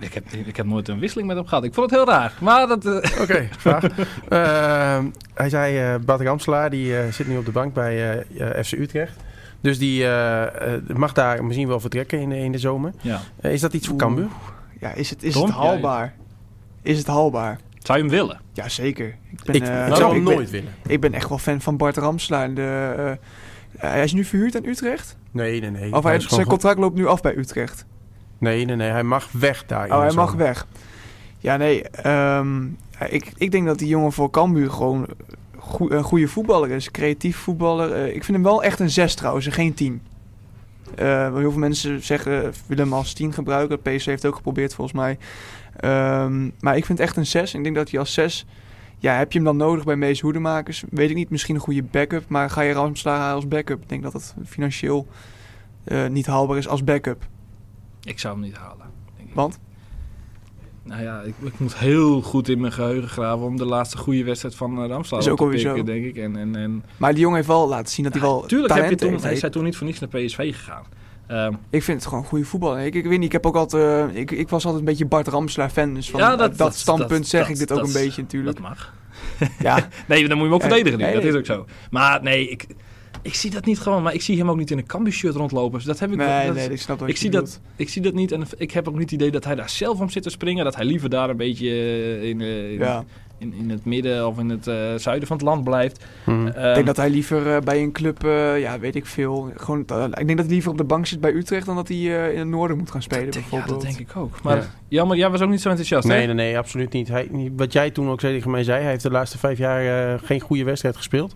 ik, heb, ik heb nooit een wisseling met hem gehad. Ik vond het heel raar. Maar dat... eh, Oké, vraag. Ehm, hij zei, eh Bart Ramselaar, die eh, zit nu op de bank bij eh, eh, FC Utrecht. Dus die eh, eh, mag daar misschien wel vertrekken in de, in de zomer. ja. Eh, is dat iets voor Oeh. Cambuur? Ja, is het, is Dom? het haalbaar? Is het haalbaar? Zou je hem willen? Ja, zeker. Ik, ben, Ik, eh, ik zou hem ben- nooit willen. Ik ben echt wel fan van Bart Ramslaan. De, eh, hij is nu verhuurd aan Utrecht. Nee, nee, nee. Of hij, Hij is zijn gewoon contract loopt nu af bij Utrecht. goed. Nee, nee, nee. Hij mag weg daar. in de oh, hij mag zomer. weg. Ja, nee. ehm, ik, ik denk dat die jongen voor Cambuur gewoon goe- een goede voetballer is. Creatief voetballer. Eh, ik vind hem wel echt een zes trouwens, en geen tien. Eh, want heel veel mensen zeggen, willen hem als 10 gebruiken. PSV heeft het ook geprobeerd volgens mij. Ehm, maar ik vind het echt een 6. Ik denk dat hij als 6... Ja, heb je hem dan nodig bij Mees Hoedemakers? Weet ik niet, misschien een goede backup. Maar ga je Ramslaar halen als backup? Ik denk dat dat financieel eh, niet haalbaar is als backup. Ik zou hem niet halen. denk ik. Want? Nou ja, ik, ik moet heel goed in mijn geheugen graven om de laatste goede wedstrijd van eh, Ramslaar Is ook op te alweer pikken, zo. denk ik. En, en, en... Maar die jongen heeft wel laten zien dat hij wel Tuurlijk heb je talent toen, heeft. hij is hij toen niet voor niks naar PSV gegaan. Ehm, Ik vind het gewoon een goede voetbal. Ik, ik weet niet, ik, heb ook altijd, eh, ik, ik was altijd een beetje Bart Ramslaar fan. Dus van Ja, dat, dat- dat, dat- standpunt dat- zeg dat- ik dit ook dat- een beetje natuurlijk. dat mag. ja, Nee, dan moet je hem ook Eh, verdedigen nu. nee, dat nee. is ook zo. Maar nee, ik, ik zie dat niet gewoon. Maar ik zie hem ook niet in een Cambuur-shirt rondlopen. Dus dat heb ik wel- nee, dat- nee, ik snap wel wat ik je zie, bedoelt. dat, ik zie dat niet en ik heb ook niet het idee dat hij daar zelf om zit te springen. Dat hij liever daar een beetje eh, in, eh, in, Ja. in, in het midden of in het eh, zuiden van het land blijft. Mhm. Ehm, Ik denk dat hij liever eh, bij een club, eh, ja, weet ik veel. Gewoon, eh, ik denk dat hij liever op de bank zit bij Utrecht dan dat hij eh, in het noorden moet gaan spelen, dat denk- ja, bijvoorbeeld. dat denk ik ook. Maar Ja. jammer, jij was ook niet zo enthousiast, hè? Nee, nee, nee, absoluut niet. Hij, wat jij toen ook tegen mij zei, hij heeft de laatste vijf jaar eh, geen goede wedstrijd gespeeld.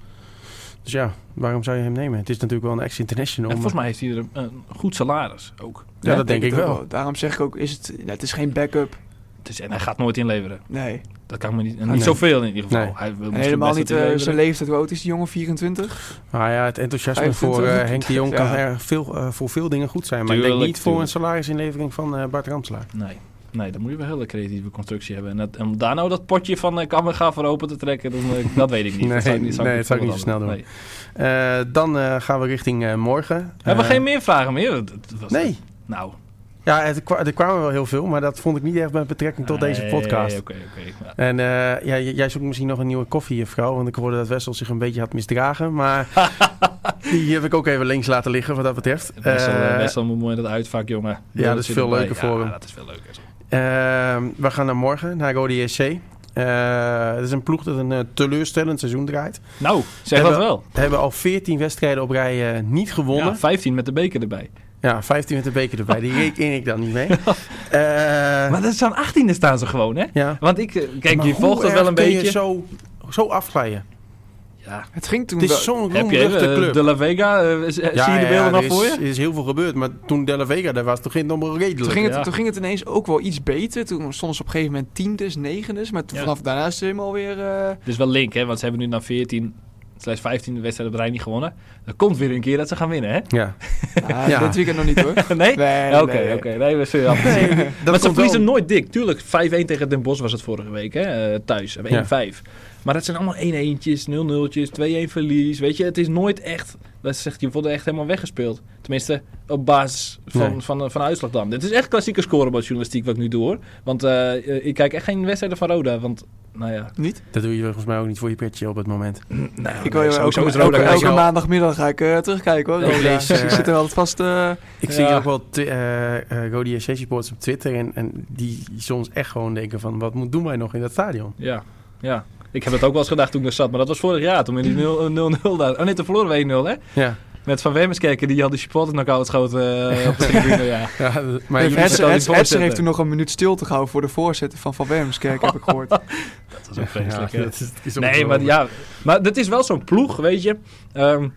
Dus ja, waarom zou je hem nemen? Het is natuurlijk wel een ex-international. En volgens maar- mij heeft hij er een, een goed salaris ook. Ja, dat denk ik het ook wel. Daarom zeg ik ook, is het, nou, het is geen backup. Het is, en hij gaat nooit inleveren. Nee. Dat kan ik me niet... en Niet Nee. zoveel in ieder geval. Nee. Hij wil En misschien helemaal best niet dat hij eh, inleveren. zijn leeftijd. Hoe oud is die jongen? 24? Nou ja, het enthousiasme 25. voor eh, Henk de Jong kan Ja. er veel, eh, voor veel dingen goed zijn. Maar ik Tuurlijk, denk niet voor een salarisinlevering van eh, Bart Ramslaar. Nee. Nee, dan moet je wel een hele creatieve constructie hebben. En, dat, om daar nou dat potje van eh Kammerga voor open te trekken, dan, eh, dat weet ik niet. Nee, dat zou, ik niet- nee, dat zou ik niet zo voorstellen. snel doen. Nee. Eh, dan eh, gaan we richting eh, morgen. Hebben we Eh, geen meer vragen meer? Dat- dat was- Nee. Nou. Ja, het kwa- er kwamen wel heel veel, maar dat vond ik niet echt met betrekking tot deze Nee, podcast. Oké, oké. Maar- En eh, ja, j- jij zoekt misschien nog een nieuwe koffiejuffrouw, want ik hoorde dat Wessel zich een beetje had misdragen. Maar die heb ik ook even links laten liggen wat dat betreft. Best wel, eh, Eh, best wel mooi in dat uitvak, jongen. ja, dat is zit veel erbij. leuker voor ja, hem. dat is veel leuker. Ehm, we gaan naar morgen, naar Rode JC. Eh, het is een ploeg dat een eh, teleurstellend seizoen draait. Nou, zeg Hebben- dat wel. We hebben al 14 wedstrijden op rij eh, niet gewonnen. Ja, 15 met de beker erbij. Ja, 15 met de beker erbij. Die reken ik dan niet mee. Eh, Maar dat staan 18e staan ze gewoon, hè? ja. Want ik, eh, kijk, Maar je hoe volgt dat erg wel een kun je beetje. zo, zo afglijden. Ja. Het ging toen Het wel- is zo'n Heb je roemruchte eh, club. de La Vega? eh, z- eh, zie je de beelden er nog is, voor je? is heel veel gebeurd. Maar toen De La Vega daar was, toen ging het nog maar redelijk. Toen ging, het, Ja. toen ging het ineens ook wel iets beter. Toen stonden ze op een gegeven moment tiendes, negendes. Maar toen, Ja. vanaf daarna is het helemaal weer... eh, Het is wel link, hè? Want ze hebben nu na 14, slechts 15 wedstrijden op de rij niet gewonnen. Dan komt weer een keer dat ze gaan winnen, hè? Ja. ah, Ja. Dit weekend nog niet hoor. nee? Nee, Ja, Oké, nee, nee. oké. Nee, we zullen af. Dat maar komt ze verliezen wel- nooit dik. Tuurlijk, 5-1 tegen Den Bosch was het vorige week, hè? eh, thuis. 1-5. Ja. Maar dat zijn allemaal 1-1'tjes, 0-0'tjes, 2-1 verlies. Weet je, het is nooit echt... Dat zegt, je wordt echt helemaal weggespeeld. Tenminste, op basis van, Nee. van, van, de uitslag dan. Dit is echt klassieke scorebordjournalistiek wat ik nu doe, hoor. Want eh, eh, ik kijk echt geen wedstrijden van Roda, want... Nou ja, Niet? Dat doe je volgens mij ook niet voor je petje op het moment. nou, Ik wil je sowieso elke, is Roda elke, klassiek. elke maandagmiddag ga ik eh, terugkijken hoor. Ik Roda. lees, eh, ik zit er wel vast... eh, Ik Ja. zie ook wel t- eh eh Rode JC supporters op Twitter. En, en die soms echt gewoon denken van... Wat moet, doen wij nog in dat stadion? Ja, ja. Ik heb dat ook wel eens gedacht toen ik er zat. Maar dat was vorig jaar, toen in die 0-0 daar... Oh nee, toen verloren we 1-0, hè? Ja. Met Van Wemmerskerken, die had de supporter knock-out schoten eh, op de tribune, ja. ja d- maar Nee, jullie- Hetzer- Hetzer, moeten het Hetzer voorzetten. heeft toen nog een minuut stilte gehouden voor de voorzitter van Van Wermskerk, heb ik gehoord. Oh, Dat is ook vreselijk, Ja, hè? dat is- is Nee, maar ongelooflijk. ja, maar dat is wel zo'n ploeg, weet je. Ehm,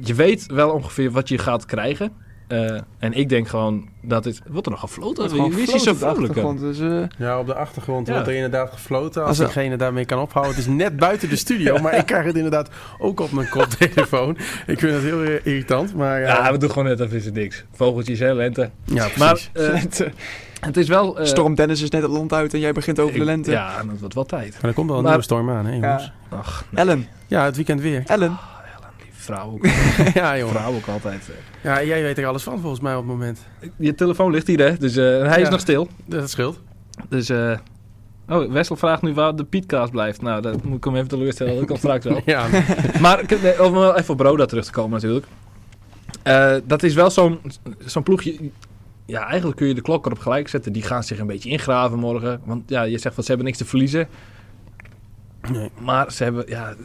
je weet wel ongeveer wat je gaat krijgen. Eh, en ik denk gewoon dat het... Wordt er nog gefloten? Wie- Wie is die zo vrolijk? hè? Want dus, eh, Ja, op de achtergrond Ja. wordt er inderdaad gefloten. Als Als er- diegene daarmee kan ophouden. Het is net buiten de studio, maar ik krijg het inderdaad ook op mijn koptelefoon. Ik vind het heel eh, irritant, maar... eh, Ja, we doen gewoon net, dat is het niks. Vogeltjes, hè, lente. ja, precies. Maar eh, het is wel... eh, Storm Dennis is net het land uit en jij begint over de ik- lente. Ja, dat wordt wel tijd. Maar er komt wel een Maar- nieuwe storm aan, hè jongens? Ja, Ja. Ach, nou, Ellen, het weekend weer. Ellen. die vrouw ook, ja, joh. vrouw ook altijd. eh. Ja, jij weet er alles van volgens mij op het moment. Je telefoon ligt hier, hè? Dus eh, hij is Ja. nog stil. Dat scheelt. Dus, eh oh, Wessel vraagt nu waar de Pietkaas blijft. Nou, dat moet ik hem even teleurstellen, dat kan straks wel. Ja, Maar ik- nee, om wel even op Roda terug te komen natuurlijk. Eh, dat is wel zo'n zo'n ploegje... Ja, eigenlijk kun je de klok erop gelijk zetten. Die gaan zich een beetje ingraven morgen. Want ja, je zegt van ze hebben niks te verliezen. Nee. Maar ze hebben... Ja, het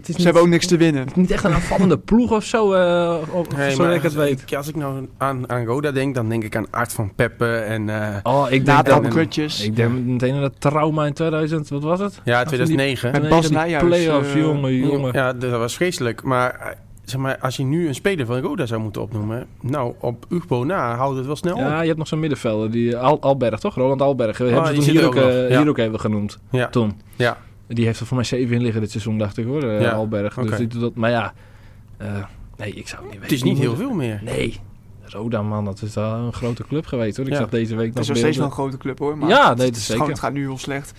is Ze niet, hebben ook niks te winnen. niet echt een aanvallende ploeg of zo. eh of, Nee, zo maar ik het weet. ik- Als ik nou aan, aan Roda denk, dan denk ik aan Art van Peppe en... eh, Oh, ik denk, Nathan dan, Kutjes. ik denk meteen aan dat trauma in 2000. Wat was het? ja, 2009. Met Nee, Bas dat die Nijhuis, Play-off, eh, jongen, jongen. oh, Ja, dat was vreselijk. Maar, eh, zeg maar als je nu een speler van Roda zou moeten opnoemen... Nou, op Ugbo na houdt het wel snel op. Ja, je hebt nog zo'n middenvelder, die eh, Al Alberg, toch? Roland Alberg. We hebben ze Oh, die toen zit hier er ook, ook eh, nog, ja. hier ook even genoemd, Ja. toen. Ja. Die heeft er voor mij zeven in liggen dit seizoen, dacht ik hoor, eh, Ja, Alberg. oké. Dus die doet dat, maar ja, eh, nee, ik zou het Het niet weten. is niet heel veel meer. Nee, Roda man, dat is wel een grote club geweest hoor. Ik Ja. zag deze week Het is nog nog steeds wel een beelden. grote club hoor. Maar Ja, nee, het, dat het is gewoon- zeker. het gaat nu heel slecht.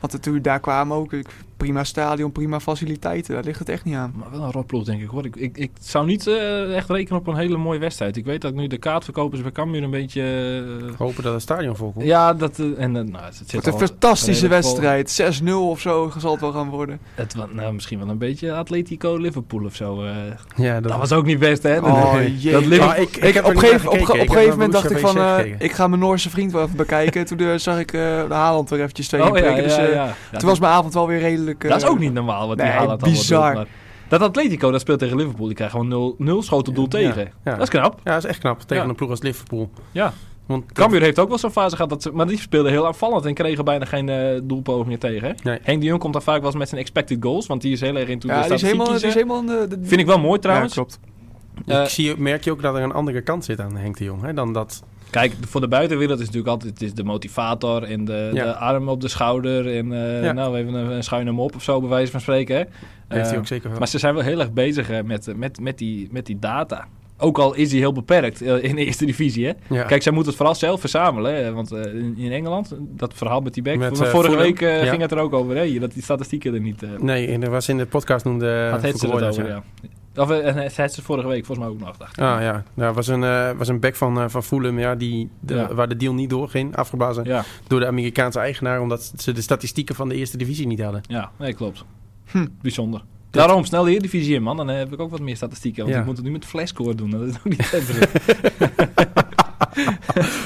Want natuurlijk, daar kwamen ook ik- prima stadion, prima faciliteiten. Daar ligt het echt niet aan. Maar wel een rotploeg denk ik hoor. Ik, ik, ik zou niet eh, echt rekenen op een hele mooie wedstrijd. Ik weet dat nu de kaartverkopers bij Cambuur een beetje... eh, Hopen dat het stadion volkomt. ja, dat... eh, en, eh, nou, het zit Het wordt al- een fantastische redelijk vol. wedstrijd. 6-0 of zo zal het wel gaan worden. Het, wa- nou, misschien wel een beetje Atletico Liverpool of zo. eh. Ja, dat, Dat was ook niet best, hè? Oh, Nee. jee. Dat Liverpool- Ah, ik, ik Ik, heb op, er niet een gegeven, naar gekeken. op, Ik ge- op een heb gegeven naar moment dacht ik Borussia van, VC eh, gekeken. ik ga mijn Noorse vriend wel even bekijken. Toen eh, zag ik eh, de Haaland er eventjes tegen Oh ja, ja, prikken. Dus, eh, ja. Toen was mijn avond wel weer redelijk... eh, dat is ook niet normaal wat die Nee, Haaland allemaal bizar. doet. Maar dat Atletico dat speelt tegen Liverpool, die krijgt gewoon 0 nul schoten op doel tegen. ja. Dat is knap. Ja, dat is echt knap. Tegen Ja. een ploeg als Liverpool. Ja. Want dat- Cambuur heeft ook wel zo'n fase gehad, dat ze, maar die speelden heel aanvallend en kregen bijna geen eh, doelpogingen tegen. hè? Nee. Henk de Jong komt daar vaak wel eens met zijn expected goals, want die is heel erg in toe Ja, die is helemaal... Die is helemaal de, de- Vind ik wel mooi trouwens. Ja, klopt. Eh, ik zie, merk je ook dat er een andere kant zit aan Henk de Jong. Hè, dan dat. Kijk, voor de buitenwereld is het natuurlijk altijd het is de motivator en de, Ja. de arm op de schouder. En eh, Ja. nou, even een, een schuin hem op of zo, bij wijze van spreken. Hè? Heeft hij Eh, ook zeker wel. Maar ze zijn wel heel erg bezig eh, met, met, met, die, met die data. Ook al is hij heel beperkt eh, in de eerste divisie. Hè? Ja. Kijk, zij moeten het vooral zelf verzamelen. Hè? Want eh, in, in Engeland, dat verhaal met die back. Met, Vorige eh, Fulham. week eh, Ja. ging het er ook over. Hè? Je- Dat die statistieken er niet... eh Nee, en er was in de podcast noemde... had het ze Verkooy het dat, over, ja. Of, eh, en het had ze vorige week volgens mij ook nog, dacht ik. Ah ja, daar was een, eh, was een back van, eh, van Fulham ja, die de- Ja. waar de deal niet doorging. Afgeblazen Ja, door de Amerikaanse eigenaar omdat ze de statistieken van de eerste divisie niet hadden. ja, nee, klopt. Hm. Bijzonder. Daarom, snel de Eredivisie in, man. Dan eh, heb ik ook wat meer statistieken. Want Ja. ik moet het nu met flashscore doen. Dat is ook niet even.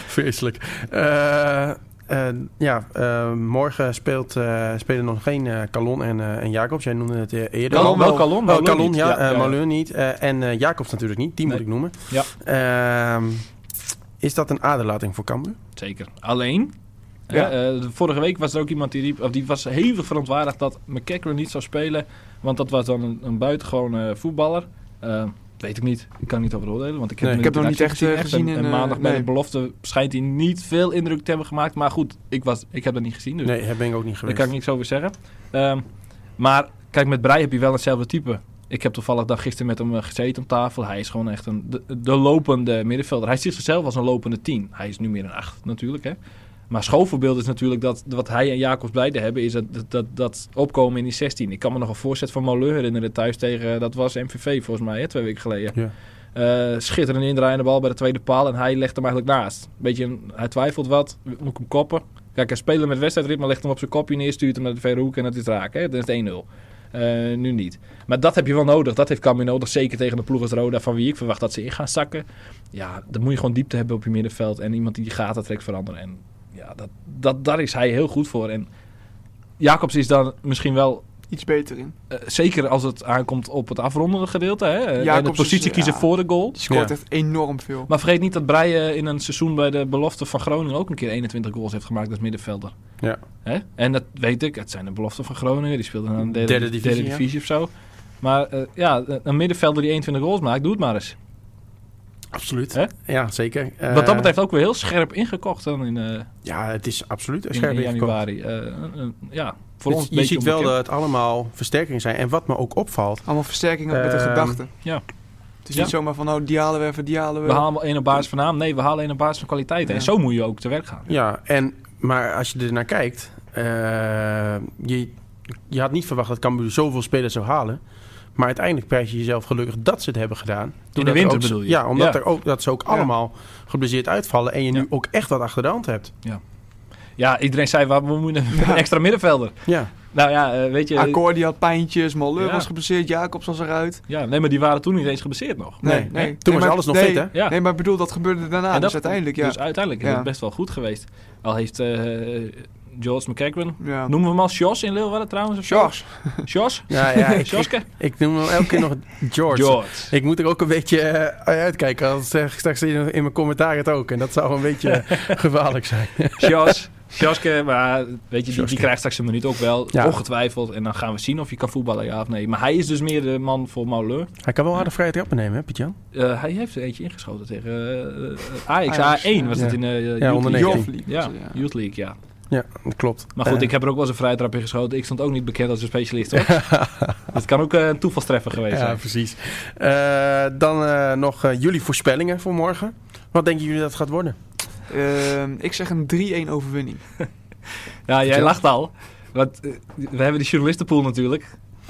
Vreselijk. Eh, eh, ja, eh, morgen speelt, eh, spelen nog geen eh, Calon en, eh, en Jacobs. Jij noemde het eh, eerder. Calon, al. wel Calon, Oh, Malou Calon, niet. ja. Ja, eh, ja, ja. Malou niet. Eh, en eh, Jacobs natuurlijk niet. Die moet Nee. ik noemen. Ehm, is dat een aderlating voor Cambuur? Zeker. Alleen, hè, Ja. eh, de- vorige week was er ook iemand die riep, of die was hevig verontwaardigd dat McCacken niet zou spelen. Want dat was dan een, een buitengewone voetballer. Eh, weet ik niet. Ik kan niet over oordelen. Want ik heb Nee, hem ik heb hem in niet actie echt, eh, gezien En, in, en eh, maandag bij nee. de belofte schijnt hij niet veel indruk te hebben gemaakt. Maar goed, ik, was, ik heb dat niet gezien. Dus Nee, daar ben ik ook niet daar geweest. kan ik niks over zeggen. Ehm, maar kijk, met Brei heb je wel hetzelfde type. Ik heb toevallig dan gisteren met hem eh, gezeten om tafel. Hij is gewoon echt een, de, de lopende middenvelder. Hij ziet zichzelf als een lopende 10. Hij is nu meer een 8 natuurlijk. Hè? Maar schoolvoorbeeld is natuurlijk dat wat hij en Jacobs beide hebben, is dat, dat, dat, dat opkomen in die 16. Ik kan me nog een voorzet van Malheur herinneren thuis tegen, eh, dat was MVV volgens mij, hè, twee weken geleden. Ja. Eh, schitterend indraaiende bal bij de tweede paal en hij legt hem eigenlijk naast. Beetje, een- hij twijfelt wat, moet ik hem koppen? Kijk, hij speelt met wedstrijdritme, legt hem op zijn kopje neer, stuurt hem naar de verre hoek en dat is raak. Hè? Dat is het 1-0. Eh, nu niet. Maar dat heb je wel nodig. Dat heeft Cambuur nodig. Zeker tegen de ploeg als Roda, van wie ik verwacht dat ze in gaan zakken. Ja, dan moet je gewoon diepte hebben op je middenveld. En iemand die die gaten trekt veranderen. En ja, dat, dat, daar is hij heel goed voor. En Jacobs is dan misschien wel... Iets beter in. eh, zeker als het aankomt op het afrondende gedeelte. Hè? Eh, en de Jacobs is, positie kiezen ja. voor de goal. Die scoort Ja. echt enorm veel. Maar vergeet niet dat Breien in een seizoen bij de belofte van Groningen ook een keer 21 goals heeft gemaakt als middenvelder. Ja. Hè? En dat weet ik, het zijn de beloften van Groningen. Die speelden aan de derde, Derde derde divisie, divisie, ja. of zo. Maar eh, ja, een middenvelder die 21 goals maakt, doe het maar eens. Absoluut. Hè? Ja, zeker. Wat Eh, dat betreft ook weer heel scherp ingekocht dan in, eh, Ja, het is absoluut een in, scherp in ingekomen. januari. Eh, eh, eh, ja, voor Dus ons een je beetje ziet wel onbekend. dat het allemaal versterkingen zijn. En wat me ook opvalt... Allemaal versterkingen met de Ehm, gedachten. ja. Het is Ja. niet zomaar van, nou, die halen we even, die halen we. We halen één op basis van naam. Nee, we halen één op basis van kwaliteit. Ja. En zo moet je ook te werk gaan. Ja, en, maar als je er naar kijkt... eh, je, je had niet verwacht dat Cambuur zoveel spelers zou halen. Maar uiteindelijk prijs je jezelf gelukkig dat ze het hebben gedaan. de Doordat er winter ook- bedoel je? Ja, omdat Ja. Er ook, dat ze ook allemaal geblesseerd uitvallen. En je nu Ja. ook echt wat achter de hand hebt. Ja, iedereen zei, waar we moeten een extra middenvelder. Ja, Nou ja, eh, weet Ah, je... Akkoord, die had pijntjes, Malleur Ja. was geblesseerd, Jacobs was eruit. Ja, nee, maar die waren toen niet eens geblesseerd nog. Nee, Nee, nee. nee. Toen Nee, was maar- alles nog nee. fit, hè? Ja. Nee, maar ik bedoel, dat gebeurde daarna. En dus uiteindelijk, ja. Dus uiteindelijk is Ja. het best wel goed geweest. Al heeft eh George McCagran... ja. Noemen we hem als Jos in Leeuwarden trouwens? Of zo? Sjors. Jos? ja, ja ik, ik, Joske? ik noem hem elke keer nog George. Ik moet er ook een beetje eh, uitkijken. Anders zeg ik straks in, in mijn commentaar het ook. En dat zou een beetje gevaarlijk zijn. Jos. Joske, maar weet je, die, Joske. die krijgt straks een minuut ook wel, Ja. ongetwijfeld. En dan gaan we zien of je kan voetballen, ja of nee. Maar hij is dus meer de man voor Mauleur. Hij kan wel harde vrije trappen nemen, hè, Piet-Jan? Eh, hij heeft er eentje ingeschoten tegen eh, eh, Ajax. Ajax, A1 was ja. dat in de Ja, onder Youth League. 19. Jofliep. Ja, Dus, Ja. Youth League, ja. Ja, dat klopt. Maar goed, Eh, ik heb er ook wel eens een vrije trap in geschoten. Ik stond ook niet bekend als een specialist, hoor. dat kan ook eh, een toevalstreffer geweest Ja, zijn. precies. Eh, dan eh, nog eh, jullie voorspellingen voor morgen. Wat denken jullie dat het gaat worden? Ehm, ik zeg een 3-1 overwinning. Ja, jij Vertel. lacht al. Want eh, we hebben die journalistenpool natuurlijk.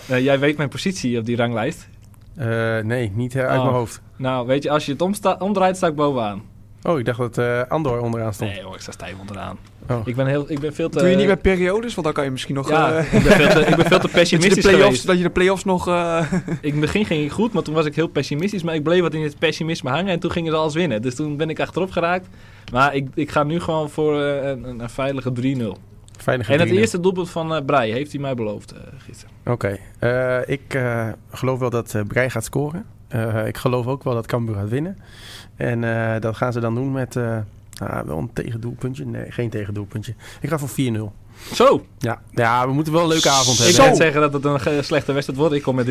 Eh, jij weet mijn positie op die ranglijst. Eh, nee, niet eh, uit Oh. mijn hoofd. Nou, weet je, als je het omsta- omdraait, sta ik bovenaan. Oh, ik dacht dat eh, Andor onderaan stond. Nee hoor, ik sta stijf onderaan. Oh. Ik ben, heel, ik ben veel te... Doe je niet bij periodes? Want dan kan je misschien nog... eh, Ja, eh, ik, ben veel te, ik ben veel te dat, je de pessimistisch play-offs, geweest. dat je de play-offs nog... eh, In het begin ging ik goed, maar toen was ik heel pessimistisch. Maar ik bleef wat in het pessimisme hangen en toen gingen ze alles winnen. Dus toen ben ik achterop geraakt. Maar ik, ik ga nu gewoon voor eh, een, een- een veilige 3-0. Veilige En het 3-0. eerste doelpunt van eh Breij heeft hij mij beloofd eh, gisteren. Oké. Eh, ik eh, geloof wel dat eh Brei gaat scoren. Eh, ik geloof ook wel dat Cambuur gaat winnen. En eh, dat gaan ze dan doen met... eh, ah, wel een tegendoelpuntje? Nee, geen tegendoelpuntje. Ik ga voor 4-0. Zo, Ja. ja, we moeten wel een leuke avond Ik hebben. zou zeggen dat het een ge- slechte wedstrijd wordt. Ik kom met 3-0.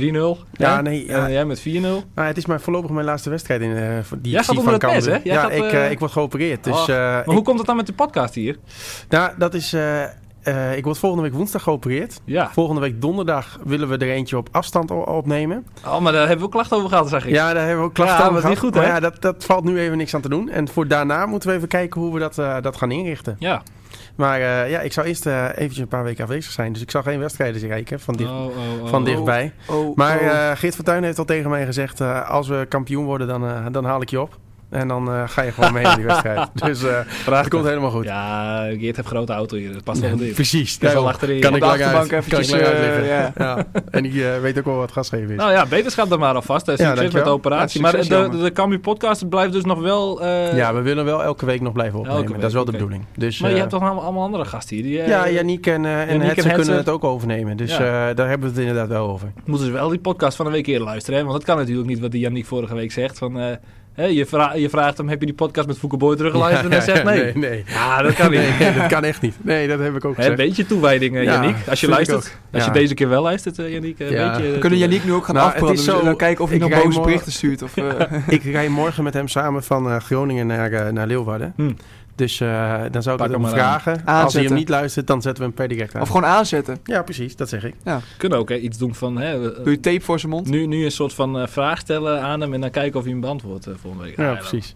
Ja, nee. eh, ja. En jij met 4-0. Nou, het is mijn, voorlopig mijn laatste wedstrijd in, eh, voor- die Jij ik gaat zie onder van het mes, Cambuur. hè? Jij Ja, gaat, ik, eh, eh, ik word geopereerd. Dus, Oh, eh, Maar hoe ik- komt het dan met de podcast hier? nou, dat is... eh, eh, ik word volgende week woensdag geopereerd. Ja. Volgende week donderdag willen we er eentje op afstand o- opnemen. Oh, maar daar hebben we ook klachten over gehad, zeg ik. Ja, daar hebben we ook klachten Ja, over wat gehad. niet goed, maar hè? ja, dat, dat valt nu even niks aan te doen. En voor daarna moeten we even kijken hoe we dat, eh, dat gaan inrichten. Ja. Maar eh, ja, ik zou eerst eh, eventjes een paar weken afwezig zijn. Dus ik zal geen wedstrijden kijken van, dicht, Oh, oh, oh. van oh. dichtbij. Oh, Maar oh. eh Geert Fortuyn heeft al tegen mij gezegd... eh, als we kampioen worden, dan, eh, dan haal ik je op. En dan eh, ga je gewoon mee in die wedstrijd. Dus eh dat komt helemaal goed. Ja, Geert heeft grote auto hier. Dat past wel Ja, in dit. precies. Dat is al daarom. achterin. Kan Op ik de lang uit. achterbank Kan ik eventjes, lang eh, uitleggen. ja. Ja. En die eh, weet ook wel wat gasgeven is. Nou ja, beterschap dan maar alvast. Eh, Succes met de dankjewel. Ja, operatie. maar succes, de, jongen. de Cambuur podcast blijft dus nog wel... eh, ja, we willen wel elke week nog blijven opnemen. week, dat is wel de oké. bedoeling. Dus, Maar je eh, hebt toch allemaal, allemaal andere gasten hier. Die, eh, ja, Yannick en, eh en en Hetze Hetze. kunnen het ook overnemen. Dus Ja. eh, daar hebben we het inderdaad wel over. Moeten ze wel die podcast van een week eerder luisteren. Hè? Want dat kan natuurlijk niet wat die Yannick vorige week zegt. Van, eh, hè, je, vra- je vraagt hem, heb je die podcast met Foucault Boy teruggeluisterd? en hij zegt nee. nee, nee. Ja, dat kan niet. Nee, nee, dat kan echt niet. Nee, dat heb ik ook Hè, een gezegd. beetje toewijding, eh, Ja, Yannick. Als je vind ik luistert. ook. Als je Ja. deze keer wel luistert, eh, Yannick. eh, Een Ja. beetje, We eh, We kunnen Yannick nu ook gaan Nou, het afbranden. is We zo- zullen kijken of hij ik nog rij boze morgen- berichten stuurt. Of, eh, Ik rij morgen met hem samen van eh, Groningen naar, eh, naar Leeuwarden. Hm. Dus eh, dan zou ik Pak het hem hem maar aan. vragen. Als hij hem Aanzetten. niet luistert, dan zetten we hem per direct aan. of gewoon aanzetten. Ja, precies. Dat zeg ik. kunnen ook hè, iets doen van... Hè, we- eh, Doe je tape voor zijn mond. nu, nu een soort van eh, vraag stellen aan hem en dan kijken of hij hem beantwoordt eh, volgende week. Ja, dan- precies.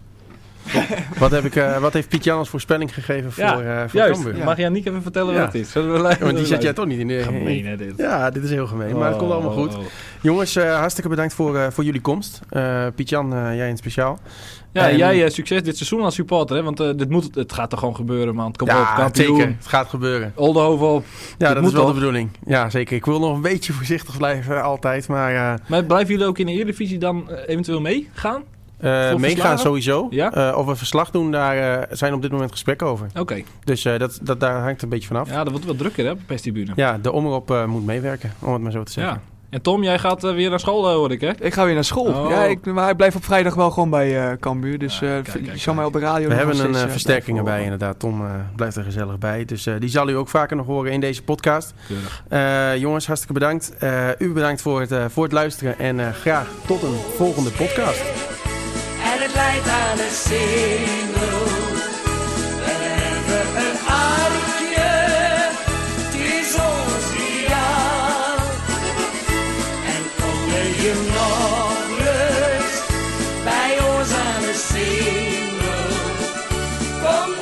wat, heb ik, eh, wat heeft Piet Jan als voorspelling gegeven voor, Ja, eh, voor Juist, Cambuur? Ja. mag Yannick even vertellen Ja. wat het is? Zullen we luisteren? Want die zet jij toch niet in de... Gemeen hè dit. Ja, dit is heel gemeen, maar het komt allemaal goed. Oh, oh, oh. Jongens, eh, hartstikke bedankt voor, eh, voor jullie komst. Eh Piet-Jan, eh, jij in het speciaal. Ja, En- jij eh, succes dit seizoen als supporter, hè? Want eh, dit moet, het gaat toch gewoon gebeuren, man. Kom op, kampioen. zeker. Het gaat gebeuren. Oldenhoven op. Ja, dat moet is wel toch? de bedoeling. Ja, zeker. Ik wil nog een beetje voorzichtig blijven, eh, altijd. Maar eh, Maar blijven jullie ook in de Eredivisie dan eh, eventueel meegaan? eh, meegaan verslagen? sowieso. Ja? Eh, of we verslag doen, daar eh, zijn op dit moment gesprekken over. Oké. Dus eh, dat, dat, daar hangt een beetje vanaf. Ja, Ja, dat wordt wel drukker, hè, op de perstribune. de omroep eh, moet meewerken, om het maar zo te zeggen. Ja. En Tom, jij gaat eh, weer naar school, eh, hoor ik, hè? Ik ga weer naar school. Oh. Ja, ik, maar ik blijf op vrijdag wel gewoon bij eh Cambuur. Dus Ja, eh, kijk, v- kijk, je zal mij op de radio We nog hebben wel een steeds, eh, eh, versterking blijven erbij inderdaad. Tom eh, blijft er gezellig bij. Dus eh, die zal u ook vaker nog horen in deze podcast. Keurig. Eh, jongens, hartstikke bedankt. Eh, u bedankt voor het, eh, voor het luisteren. En eh, graag tot een volgende podcast. En het leidt aan een single. We hebben een arkje, het is ons ideaal. En kom je nog eens bij ons aan de single. Kom